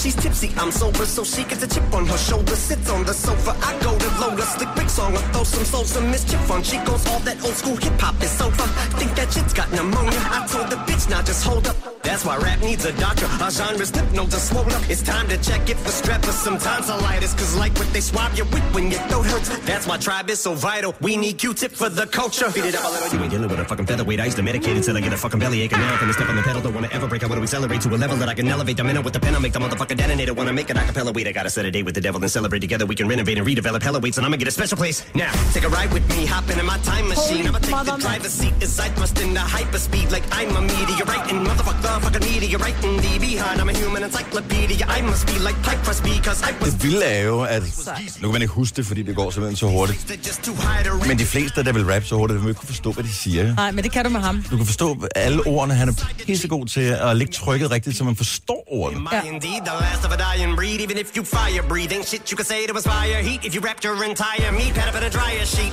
[SPEAKER 8] She's tipsy, I'm sober, so she gets a chip on her shoulder. Sits on the sofa, I go to load a slick big song, I throw some soul, some mischief on. She goes all that old school hip hop is so fun. Think that shit's got pneumonia. I told the bitch, now just hold up. That's why rap needs a doctor. Our genre's lip notes are swollen. It's time to check if the strap is some tonsillitis. Cause like what they swab you with when your throat hurts. That's why tribe is so vital. We need Q-tip for the culture. Beat it up a little. You ain't dealing with a fucking featherweight. I used to medicate until I get a fucking bellyache. And now I'm finna step on the pedal. Don't wanna ever break. I wanna accelerate to a level that I can elevate. I'm in it with the pen. I make the motherfucking detonator. Wanna make an acapella. Wait, I gotta set a date with the devil and celebrate together. We can renovate and redevelop hella weights. And I'ma get a special place. Now, take a ride with me. Hop into my time machine. I'ma take the driver's seat. As I thrust into hyperspeed like I'm a meteorite. And motherfuck the fucking meteorite in the behind. I'm a human encyclopedia. I must be like Cypress because I was
[SPEAKER 1] Det vilde er jo, at nu kan man ikke huske det, fordi det går simpelthen så hurtigt.
[SPEAKER 8] just too high to reach.
[SPEAKER 1] Men de fleste, der vil rappe så hurtigt, vil ikke kunne forstå, hvad de siger.
[SPEAKER 3] Nej, men det kan du med ham.
[SPEAKER 1] Du kan forstå alle ordene. Han er pissegod til at lægge trykket rigtigt, så man forstår ordene.
[SPEAKER 8] Am I indeed the last of a dying breed? Even if you fire breathe, ain't shit you can say to inspire heat. If you wrapped your entire meat pad up in a dryer sheet.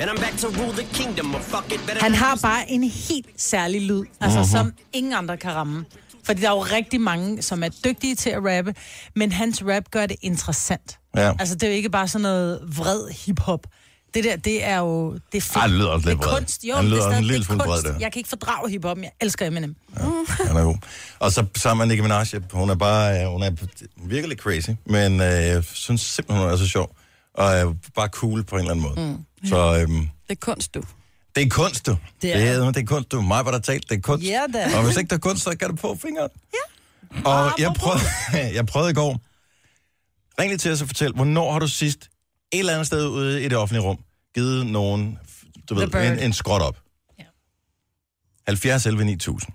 [SPEAKER 8] And I'm back to rule the kingdom of fuck it better.
[SPEAKER 3] Han har bare en helt særlig lyd, altså
[SPEAKER 1] Mhm.
[SPEAKER 3] uh-huh. som ingen andre kan ramme. Fordi der er jo rigtig mange, som er dygtige til at rappe, men hans rap gør det interessant.
[SPEAKER 1] Ja.
[SPEAKER 3] Altså, det er jo ikke bare sådan noget vred hiphop. Det der, det er jo... Det er fedt.
[SPEAKER 1] Ej, det lyder også lidt
[SPEAKER 3] det er
[SPEAKER 1] vred.
[SPEAKER 3] kunst. Jo,
[SPEAKER 1] Han
[SPEAKER 3] men
[SPEAKER 1] lyder
[SPEAKER 3] det er
[SPEAKER 1] også en
[SPEAKER 3] stadig,
[SPEAKER 1] lille
[SPEAKER 3] det er
[SPEAKER 1] smule vred,
[SPEAKER 3] kunst.
[SPEAKER 1] det.
[SPEAKER 3] Jeg kan ikke fordrage hiphoppen, jeg elsker Eminem. Mm.
[SPEAKER 1] Han er god. Og så sammen med Nicki Minaj, hun er bare, øh, hun er virkelig crazy, men øh, jeg synes simpelthen, hun er så sjov. Og er bare cool på en eller anden måde. Så øhm,
[SPEAKER 4] Det Mm. er kunst, du.
[SPEAKER 1] Det er kunst, du. Det
[SPEAKER 3] Det
[SPEAKER 1] er,
[SPEAKER 3] er
[SPEAKER 1] det er, det er kunst, du. Mig, hvor der talt, det er kunst.
[SPEAKER 3] Ja da.
[SPEAKER 1] Og hvis ikke der er kunst, så kan du på fingeren. Ja. Og jeg prøvede, jeg prøvede i går. Ring lige til os og fortæl, hvornår har du sidst et eller andet sted ude i det offentlige rum givet nogen, du ved,
[SPEAKER 2] bird.
[SPEAKER 1] en, en skråt op? Ja.
[SPEAKER 2] Ja.
[SPEAKER 1] 70 11 9000.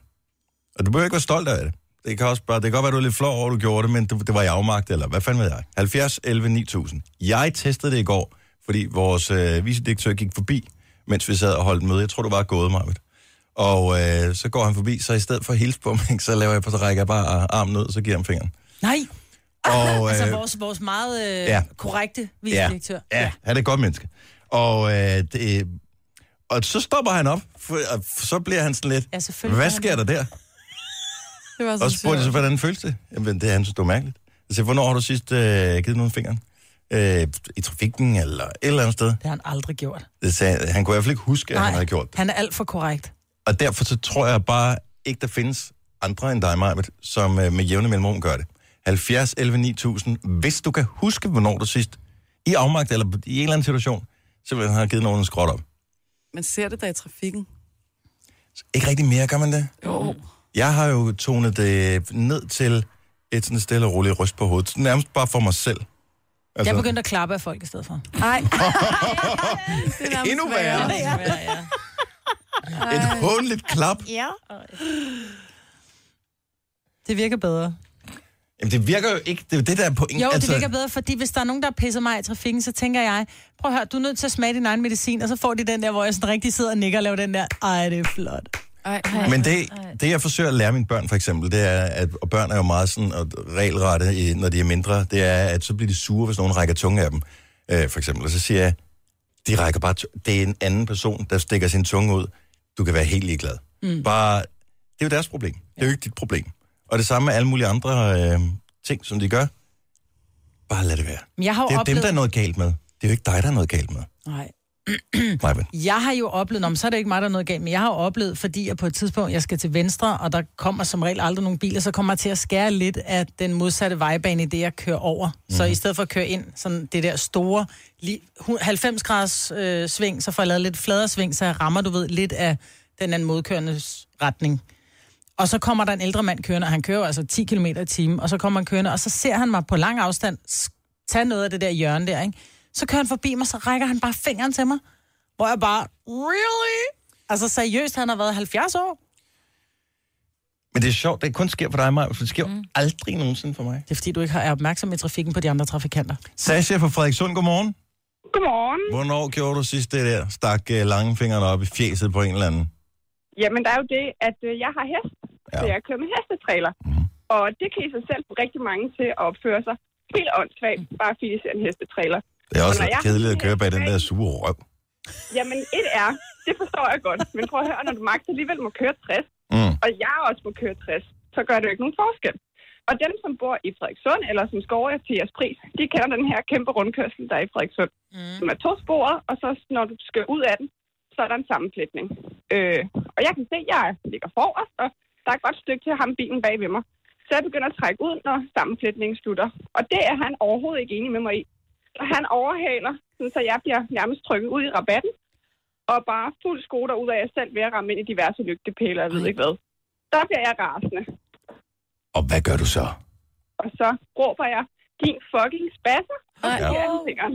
[SPEAKER 1] Og du behøver ikke være stolt af det. Det kan, også bare, det kan godt være, du er lidt flov over, at du gjorde det, men det, det var i afmagt, eller hvad fanden ved jeg. 70, 11, 9000. Jeg testede det i går, fordi vores øh, vicedirektør gik forbi, mens vi sad og holdt møde. Jeg tror, du var gået, Marvitt. Og øh, så går han forbi, så i stedet for at hilse på mig, så, laver jeg, så rækker jeg bare øh, armen ud, og så giver ham fingeren.
[SPEAKER 3] Nej,
[SPEAKER 1] Og, øh,
[SPEAKER 3] altså vores, vores meget øh,
[SPEAKER 1] ja.
[SPEAKER 3] ja. korrekte
[SPEAKER 1] ja,
[SPEAKER 3] vicedirektør.
[SPEAKER 1] ja, han er et godt menneske. Og, øh, det, og så stopper han op, for, og så bliver han sådan lidt,
[SPEAKER 3] Ja, selvfølgelig
[SPEAKER 1] hvad
[SPEAKER 3] gør han
[SPEAKER 1] sker der der?
[SPEAKER 4] Det var
[SPEAKER 1] Og
[SPEAKER 4] så
[SPEAKER 1] så spurgte jeg så,
[SPEAKER 4] sjovt.
[SPEAKER 1] hvordan føles det? Jamen, det er han synes, det var mærkeligt. Jeg sagde, hvornår har du sidst øh, givet nogen fingeren? Øh, I trafikken eller et eller andet sted?
[SPEAKER 3] Det har han aldrig gjort.
[SPEAKER 1] Det sagde, han kunne i hvert fald ikke huske, at han havde gjort det.
[SPEAKER 3] han er alt for korrekt.
[SPEAKER 1] Og derfor så tror jeg bare ikke, der findes andre end dig, Majbet, som øh, med jævne mellemrum gør det. 70 11 9000. Hvis du kan huske, hvornår du sidst i afmagt eller i en eller anden situation, så vil han have givet nogen en skråt op.
[SPEAKER 4] Man ser det da i trafikken.
[SPEAKER 1] Ikke rigtig mere, gør man det?
[SPEAKER 4] Jo.
[SPEAKER 1] Jeg har jo tonet det ned til et sådan stille og roligt ryst på hovedet. Nærmest bare for mig selv. Altså-
[SPEAKER 3] Jeg begyndte at klappe af folk i stedet for.
[SPEAKER 4] Nej. det er nærmest
[SPEAKER 1] Endnu værre.
[SPEAKER 4] værre.
[SPEAKER 1] Et håndligt klap.
[SPEAKER 3] Det virker bedre.
[SPEAKER 1] Jamen, det virker jo ikke. Det er jo det, der er pointen.
[SPEAKER 3] Jo, altså... det virker bedre, fordi hvis der er nogen, der pisser mig i trafikken, så tænker jeg, prøv at høre, du er nødt til at smage din egen medicin, og så får de den der, hvor jeg sådan rigtig sidder og nikker og laver den der, ej, det er flot.
[SPEAKER 4] Ej,
[SPEAKER 1] Men det, det, jeg forsøger at lære mine børn, for eksempel, det er, at og børn er jo meget sådan og regelrette, i- når de er mindre, det er, at så bliver de sure, hvis nogen rækker tunge af dem, øh, for eksempel. Og så siger jeg, de rækker bare, tu- det er en anden person, der stikker sin tunge ud. Du kan være helt ligeglad. Mm. Bare, det er jo deres problem. Det er jo ikke dit problem. Og det samme med alle mulige andre øh, ting, som de gør. Bare lad det være.
[SPEAKER 3] Men jeg har jo
[SPEAKER 1] Det er jo dem,
[SPEAKER 3] oplevet...
[SPEAKER 1] der er noget galt med. Det er jo ikke dig, der er noget galt med.
[SPEAKER 3] Nej.
[SPEAKER 1] Nej, men.
[SPEAKER 3] Jeg har jo oplevet, om så er det ikke mig, der er noget galt, men jeg har jo oplevet, fordi jeg på et tidspunkt, jeg skal til venstre, og der kommer som regel aldrig nogen biler, så kommer jeg til at skære lidt af den modsatte vejbane i det, jeg kører over. Mm. Så i stedet for at køre ind sådan det der store lige hu- 90 graders øh, sving, så får jeg lavet lidt fladere sving, så jeg rammer, du ved, lidt af den anden modkørendes retning. Og så kommer der en ældre mand kørende, og han kører jo altså 10 km i timen, og så kommer han kørende, og så ser han mig på lang afstand sk- tage noget af det der hjørne der, ikke? Så kører han forbi mig, så rækker han bare fingeren til mig, hvor jeg bare, really? Altså seriøst, han har været 70 år.
[SPEAKER 1] Men det er sjovt, det kun sker for dig, Maja, for det sker mm. aldrig nogensinde for mig.
[SPEAKER 3] Det er fordi, du ikke har er opmærksom i trafikken på de andre trafikanter.
[SPEAKER 1] Sasha fra Frederikssund, godmorgen.
[SPEAKER 9] Godmorgen.
[SPEAKER 1] Hvornår gjorde du sidst det der? Stak øh, langfingrene op i fjeset på en eller anden?
[SPEAKER 9] Jamen, der er jo det, at øh, jeg har hest,
[SPEAKER 1] Ja.
[SPEAKER 9] ja. så jeg kører med hestetræler.
[SPEAKER 1] Mhm.
[SPEAKER 9] Mm. Og det kan i sig selv få rigtig mange til at opføre sig helt åndssvagt, bare fordi de ser en hestetræler.
[SPEAKER 1] Det er også
[SPEAKER 9] Når jeg
[SPEAKER 1] lidt
[SPEAKER 9] har
[SPEAKER 1] kedeligt at
[SPEAKER 9] set
[SPEAKER 1] køre bag den
[SPEAKER 9] tilbage-
[SPEAKER 1] der sure røv.
[SPEAKER 9] Jamen, et er, det forstår jeg godt, men prøv at høre, når du magt alligevel må køre 60,
[SPEAKER 1] Mm.
[SPEAKER 9] og jeg også må køre 60, så gør det jo ikke nogen forskel. Og dem, som bor i Frederikssund, eller som skal over til jeres pris, de kender den her kæmpe rundkørsel, der er i Frederikssund, mm. som er to sporet, og så når du skal ud af den, så er der en sammenflætning. Øh, og jeg kan se, at jeg ligger forrest, og der er et godt stykke til ham bilen bag ved mig. Så jeg begynder at trække ud, når sammenflætningen slutter. Og det er han overhovedet ikke enig med mig i. Så han overhaler, sådan, så jeg bliver nærmest trykket ud i rabatten, og bare fuld skoter ud af jer selv ved at ramme ind i diverse lygtepæler, jeg ved ikke hvad. Der bliver jeg rasende.
[SPEAKER 1] Og hvad gør du så?
[SPEAKER 9] Og så råber jeg, din fucking spasser.
[SPEAKER 4] Ej,
[SPEAKER 9] Ja.
[SPEAKER 4] ja.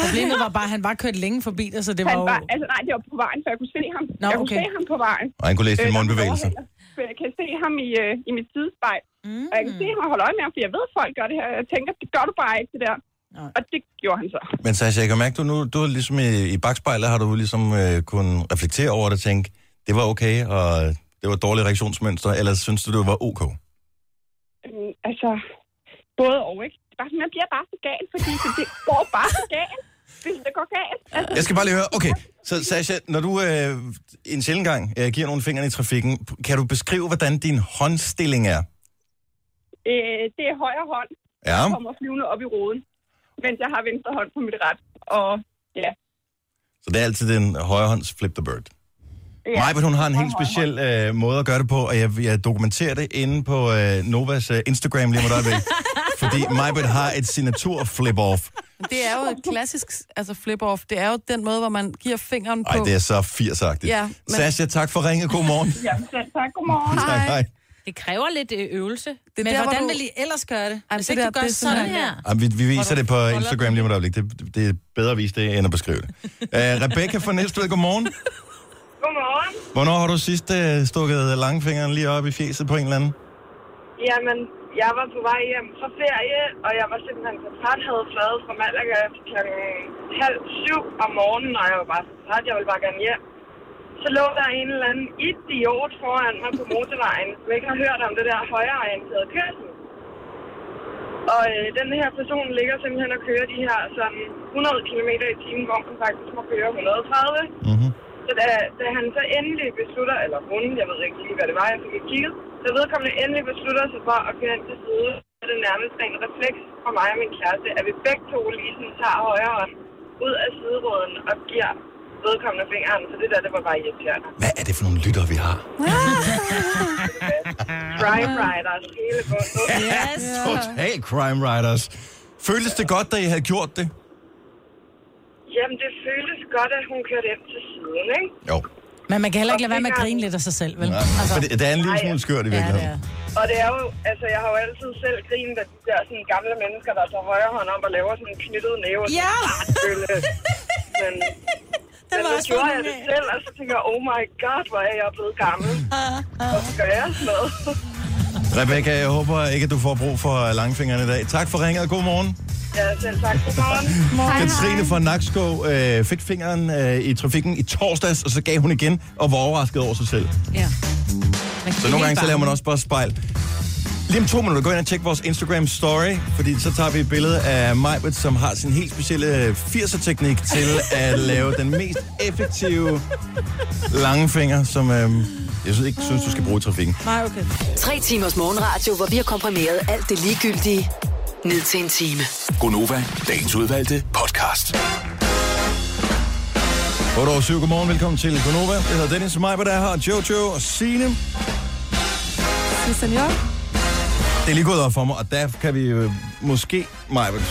[SPEAKER 3] Problemet var bare, at han var kørt længe forbi dig, så det var
[SPEAKER 9] Han
[SPEAKER 3] jo...
[SPEAKER 9] var, altså nej, det var på vejen, for jeg kunne se ham.
[SPEAKER 3] Nå,
[SPEAKER 9] jeg kunne
[SPEAKER 3] okay.
[SPEAKER 9] se ham på vejen.
[SPEAKER 1] Og han kunne læse
[SPEAKER 9] Øh,
[SPEAKER 1] dine
[SPEAKER 9] der
[SPEAKER 1] mundbevægelser.
[SPEAKER 9] overhaler. For Jeg kan se ham i, øh, i mit sidespejl. Mm. Og jeg kan se ham og holde øje med ham, for jeg ved, at folk gør det her. Jeg tænker, det gør du bare ikke, det der.
[SPEAKER 3] Nej.
[SPEAKER 9] Og det gjorde han så.
[SPEAKER 1] Men Sasha, jeg kan mærke, du nu du er ligesom i, i bagspejlet, har du ligesom øh, kunnet reflektere over det og tænke, det var okay, og det var et dårligt reaktionsmønster, eller synes du, det var ok?
[SPEAKER 9] Øhm, altså, både og, ikke? Det er Bare sådan, man bliver bare så gal, fordi det, det går bare så galt. Hvis det går galt. Altså,
[SPEAKER 1] Jeg skal bare lige høre, okay, så Sasha, når du øh, en sjældent gang øh, giver nogle fingre i trafikken, kan du beskrive, hvordan din håndstilling er?
[SPEAKER 9] øh, det er højre hånd,
[SPEAKER 1] Ja,
[SPEAKER 9] der kommer flyvende op i roden, mens jeg har venstre hånd på mit ret. Og ja,
[SPEAKER 1] så det er altid den højre hånds flip the bird. Ja.
[SPEAKER 9] ja.
[SPEAKER 1] Maja, hun har en helt speciel øh, måde at gøre det på, og jeg, jeg dokumenterer det inde på øh, Novas øh, Instagram lige om et øjeblik. fordi Maja har et signatur flip-off,
[SPEAKER 9] Det er jo et klassisk altså flip-off. Det er jo den måde, hvor man giver fingeren på.
[SPEAKER 1] Ej, det er så 80-agtigt.
[SPEAKER 9] Ja, men-
[SPEAKER 1] Sasha, tak for ringet. God morgen.
[SPEAKER 10] Jamen selv tak, godmorgen.
[SPEAKER 1] Tak, hej.
[SPEAKER 2] Det kræver lidt øh, øvelse.
[SPEAKER 9] det er
[SPEAKER 3] Men
[SPEAKER 9] der,
[SPEAKER 3] hvordan
[SPEAKER 9] hvor du...
[SPEAKER 3] vil I ellers gøre det?
[SPEAKER 9] Ej,
[SPEAKER 3] Hvis
[SPEAKER 9] det
[SPEAKER 3] ikke
[SPEAKER 9] der,
[SPEAKER 3] du gør
[SPEAKER 9] det er sådan
[SPEAKER 3] sådan
[SPEAKER 9] her.
[SPEAKER 3] her.
[SPEAKER 1] Ej, Vi, vi viser det på Instagram lige om et øjeblik. Det, det er bedre at vise det, end at beskrive det. Uh, Rebecca fra Næstved, godmorgen.
[SPEAKER 10] Godmorgen.
[SPEAKER 1] Hvornår har du sidst uh, stukket langfingeren lige op i fjeset på en eller anden?
[SPEAKER 10] Jamen, jeg var på vej hjem fra ferie, og jeg var simpelthen så træt, havde fløjet fra Malaga kl. halv syv om morgenen, og jeg var bare så træt, jeg ville bare gerne hjem. Så lå der en eller anden idiot foran mig på motorvejen, som ikke har hørt om det der højreorienterede kørsel. Og øh, den her person ligger simpelthen og kører de her sådan 100 km i timen, hvor man faktisk må køre 130.
[SPEAKER 1] Mm-hmm.
[SPEAKER 10] Så da, da han så endelig beslutter, eller hun, jeg ved ikke lige, hvad det var, jeg fik ikke kigget, så vedkommende endelig beslutter sig for at køre ind til side, så er det nærmest ren refleks fra mig og min kæreste, at vi begge to lige sådan tager højre hånd ud af sideruden og giver vedkommende fingeren, så det der, det var bare irriterende.
[SPEAKER 1] Hvad er det for nogle lytter, vi har?
[SPEAKER 10] Prime riders, hele bunden.
[SPEAKER 3] Yes.
[SPEAKER 1] Total crime writers. Føltes det godt, da I havde gjort det?
[SPEAKER 10] Jamen, det føles godt, at hun kørte ind til siden, ikke?
[SPEAKER 1] Jo.
[SPEAKER 3] Men man kan heller ikke lade være med at grine lidt af sig selv, vel? Altså-
[SPEAKER 1] Ja. For det, det er en lille smule skørt i
[SPEAKER 3] Ja, det
[SPEAKER 1] virkeligheden.
[SPEAKER 3] er.
[SPEAKER 10] Og det er jo, altså, jeg har jo altid selv grinet af de der sådan, gamle mennesker, der tager højre hånd op og laver sådan en knyttet næve. og sådan
[SPEAKER 3] Ja.
[SPEAKER 10] en fartbølle. Men, men
[SPEAKER 3] var
[SPEAKER 10] så
[SPEAKER 3] også
[SPEAKER 10] gjorde
[SPEAKER 3] for
[SPEAKER 10] jeg det
[SPEAKER 3] mange af.
[SPEAKER 10] selv, og så tænker jeg, oh my god, hvor er jeg blevet gammel.
[SPEAKER 3] Ah,
[SPEAKER 10] Hvorfor gør jeg sådan noget?
[SPEAKER 1] Rebecca, jeg håber ikke, at du får brug for langfingeren i dag. Tak for ringet, og god morgen.
[SPEAKER 10] Ja, selv tak. Godmorgen.
[SPEAKER 1] Katrine fra Nakskov øh, fik fingeren øh, i trafikken i torsdags, og så gav hun igen og var overrasket over sig selv.
[SPEAKER 2] Ja. Man
[SPEAKER 1] Så nogle gange så laver man også bare spejl. Lige om to minutter, gå ind og tjek vores Instagram story, fordi så tager vi et billede af Majbert, som har sin helt specielle 80'er-teknik til at lave den mest effektive langfinger, som øh, jeg synes ikke synes, du skal bruge i trafikken.
[SPEAKER 3] Nej, okay.
[SPEAKER 5] Tre timers morgenradio, hvor vi har komprimeret alt det ligegyldige ned til en time.
[SPEAKER 6] Gonova, dagens udvalgte podcast.
[SPEAKER 1] 8 over 7, godmorgen, velkommen til Konova. Jeg hedder Dennis Majbert, der er her, og Jojo og Signe.
[SPEAKER 9] Det er senior.
[SPEAKER 1] Det er lige gået op for mig, og der kan vi øh, måske, Majbert,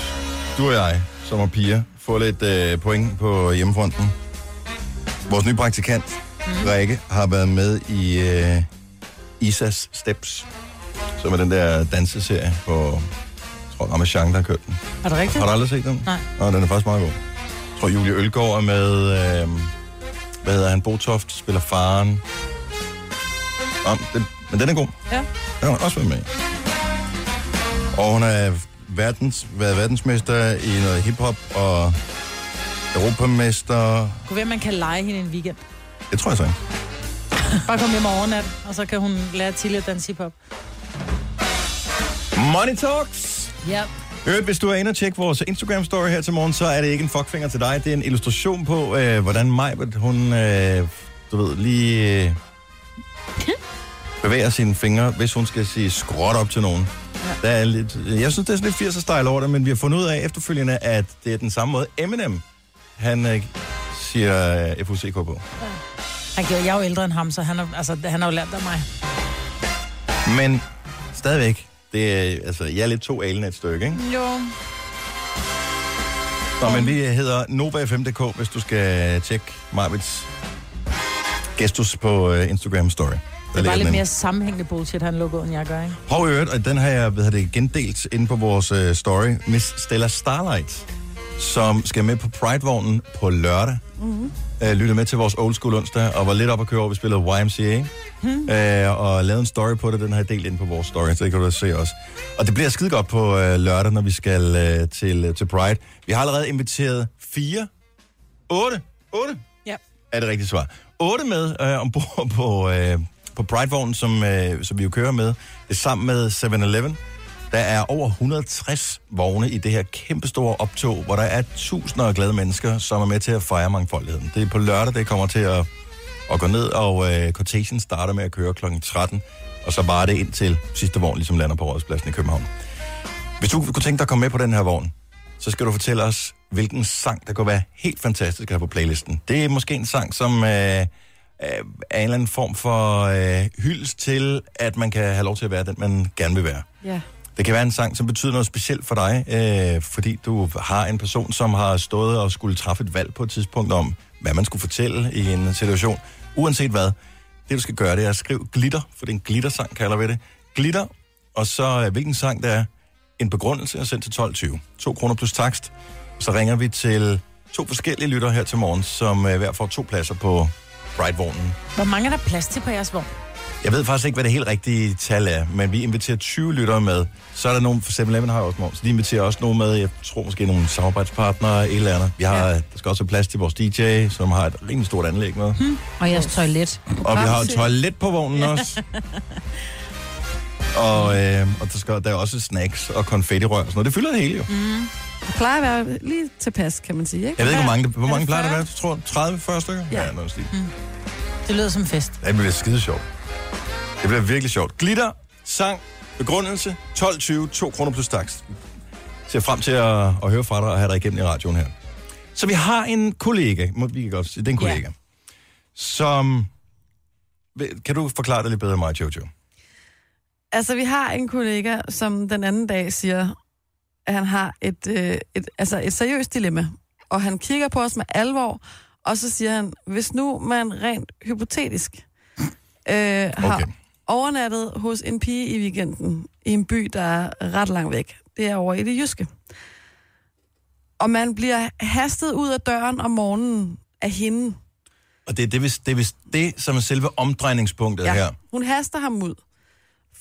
[SPEAKER 1] du og jeg, som er piger, få lidt øh, point på hjemmefronten. Vores nye praktikant, Rikke, har været med i øh, Isas Steps, som er den der danseserie på, jeg tror, Ramachan, der har kørt den.
[SPEAKER 3] Er det rigtigt?
[SPEAKER 1] Har du aldrig set den?
[SPEAKER 3] Nej.
[SPEAKER 1] Nå, den er faktisk meget god. Jeg tror, Julie Ølgaard er med... Øh, hvad hedder han? Botoft spiller faren. Om, det, men den er god.
[SPEAKER 3] Ja.
[SPEAKER 1] Den har hun også været med i. Og hun er verdens, været verdensmester i noget hiphop og europamester.
[SPEAKER 3] Kunne være, man kan lege hende en weekend.
[SPEAKER 1] Det tror jeg så ikke.
[SPEAKER 3] Bare komme hjem og overnat, og så kan hun lære til at danse hiphop.
[SPEAKER 1] Money Talks!
[SPEAKER 3] Ja.
[SPEAKER 1] Øvrigt, hvis du er inde og tjekke vores Instagram-story her til morgen, så er det ikke en fuckfinger til dig. Det er en illustration på, øh, hvordan Majbert, hun, øh, du ved, lige øh, bevæger sine fingre, hvis hun skal sige skråt op til nogen. Ja. Der er lidt, jeg synes, det er sådan lidt 80'er-style over det, men vi har fundet ud af efterfølgende, at det er den samme måde. Eminem, han øh, siger øh, FUCK på.
[SPEAKER 3] Han gjorde, jeg er jo ældre end ham, så han har, altså, han har jo lært af mig.
[SPEAKER 1] Men stadigvæk, det er, altså, jeg er lidt to alene et stykke, ikke?
[SPEAKER 3] Jo.
[SPEAKER 1] Nå, men vi hedder NovaFM.dk, hvis du skal tjekke Marvits gestus på øh, Instagram Story. Der
[SPEAKER 3] Det var
[SPEAKER 1] ligger
[SPEAKER 3] lidt
[SPEAKER 1] den
[SPEAKER 3] mere
[SPEAKER 1] inde.
[SPEAKER 3] sammenhængende bullshit, han lukkede, end jeg gør, ikke?
[SPEAKER 1] Prøv i øvrigt, og den har jeg hvad hedder det, gendelt inde på vores øh, story. Miss Stella Starlight, som skal med på Pride-vognen på lørdag. Mm-hmm. Øh, lytte med til vores old school onsdag, og var lidt op at køre over, vi spillede YMCA. Mm. Øh, og lavede en story på det, den har jeg delt ind på vores story, så det kan du da se også. Og det bliver skide godt på øh, lørdag, når vi skal øh, til, øh, til Pride. Vi har allerede inviteret fire, otte, otte
[SPEAKER 3] Ja.
[SPEAKER 1] er det rigtige svar. 8 med øh, ombord på, øh, på Pride-vognen, som, øh, som vi jo kører med, det er sammen med 7-Eleven. Der er over 160 vogne i det her kæmpestore optog, hvor der er tusinder af glade mennesker, som er med til at fejre mangfoldigheden. Det er på lørdag, det kommer til at, at gå ned, og øh, cortation starter med at køre kl. 13, og så varer det ind til sidste vogn, ligesom lander på Rådspladsen i København. Hvis du kunne tænke dig at komme med på den her vogn, så skal du fortælle os, hvilken sang, der kunne være helt fantastisk at have på playlisten. Det er måske en sang, som øh, øh, er en eller anden form for øh, hyldest til, at man kan have lov til at være den, man gerne vil være.
[SPEAKER 9] Ja.
[SPEAKER 1] Det kan være en sang, som betyder noget specielt for dig, øh, fordi du har en person, som har stået og skulle træffe et valg på et tidspunkt om, hvad man skulle fortælle i en situation. Uanset hvad, det du skal gøre, det er at skrive glitter, for det er en glittersang, kalder vi det. Glitter, og så øh, hvilken sang det er, en begrundelse og send til 12.20. 2 kroner plus takst. Så ringer vi til to forskellige lyttere her til morgen, som øh, hver får to pladser på Brightvornen.
[SPEAKER 3] Hvor mange er der plads til på jeres vogn?
[SPEAKER 1] Jeg ved faktisk ikke, hvad det helt rigtige tal er, men vi inviterer 20 lyttere med. Så er der nogle, for 7 har jo også morgen, så de inviterer også nogen med. Jeg tror måske nogle samarbejdspartnere, et eller andet. Vi har, ja. Der skal også være plads til vores DJ, som har et rimelig stort anlæg med. Hmm.
[SPEAKER 2] Og jeres toilet.
[SPEAKER 1] Og vi har et toilet på vognen også. Og, øh, og der, skal, der er også snacks og konfettirør og sådan noget. Det fylder det hele jo. Mm.
[SPEAKER 4] Det plejer at være lige tilpas, kan man sige, ikke?
[SPEAKER 1] Jeg ved ikke, hvor mange, det- hvor
[SPEAKER 3] Er
[SPEAKER 1] mange
[SPEAKER 3] det
[SPEAKER 1] plejer der at være, tror 30-40 stykker?
[SPEAKER 4] Ja.
[SPEAKER 1] ja Mm. noget i den stil.
[SPEAKER 3] Det lyder som fest.
[SPEAKER 1] Det bliver skide sjovt. Det bliver virkelig sjovt. Glitter, sang, begrundelse, 12.20, 2 kroner plus takst. Ser frem til at, at høre fra dig og have dig igennem i radioen her. Så vi har en kollega, må- vi kan godt sige, det er en
[SPEAKER 3] Ja.
[SPEAKER 1] kollega, som... Kan du forklare det lidt bedre end mig, Jojo?
[SPEAKER 4] Altså, vi har en kollega, som den anden dag siger, at han har et, øh, et, altså et seriøst dilemma. Og han kigger på os med alvor, og så siger han, hvis nu man rent hypotetisk øh, har
[SPEAKER 1] Okay.
[SPEAKER 4] overnattet hos en pige i weekenden i en by, der er ret langt væk. Det er over i det jyske. Og man bliver hastet ud af døren om morgenen af hende.
[SPEAKER 1] Og det er det, hvis, det, er hvis det som er selve omdrejningspunktet ja. her.
[SPEAKER 4] Hun haster ham ud.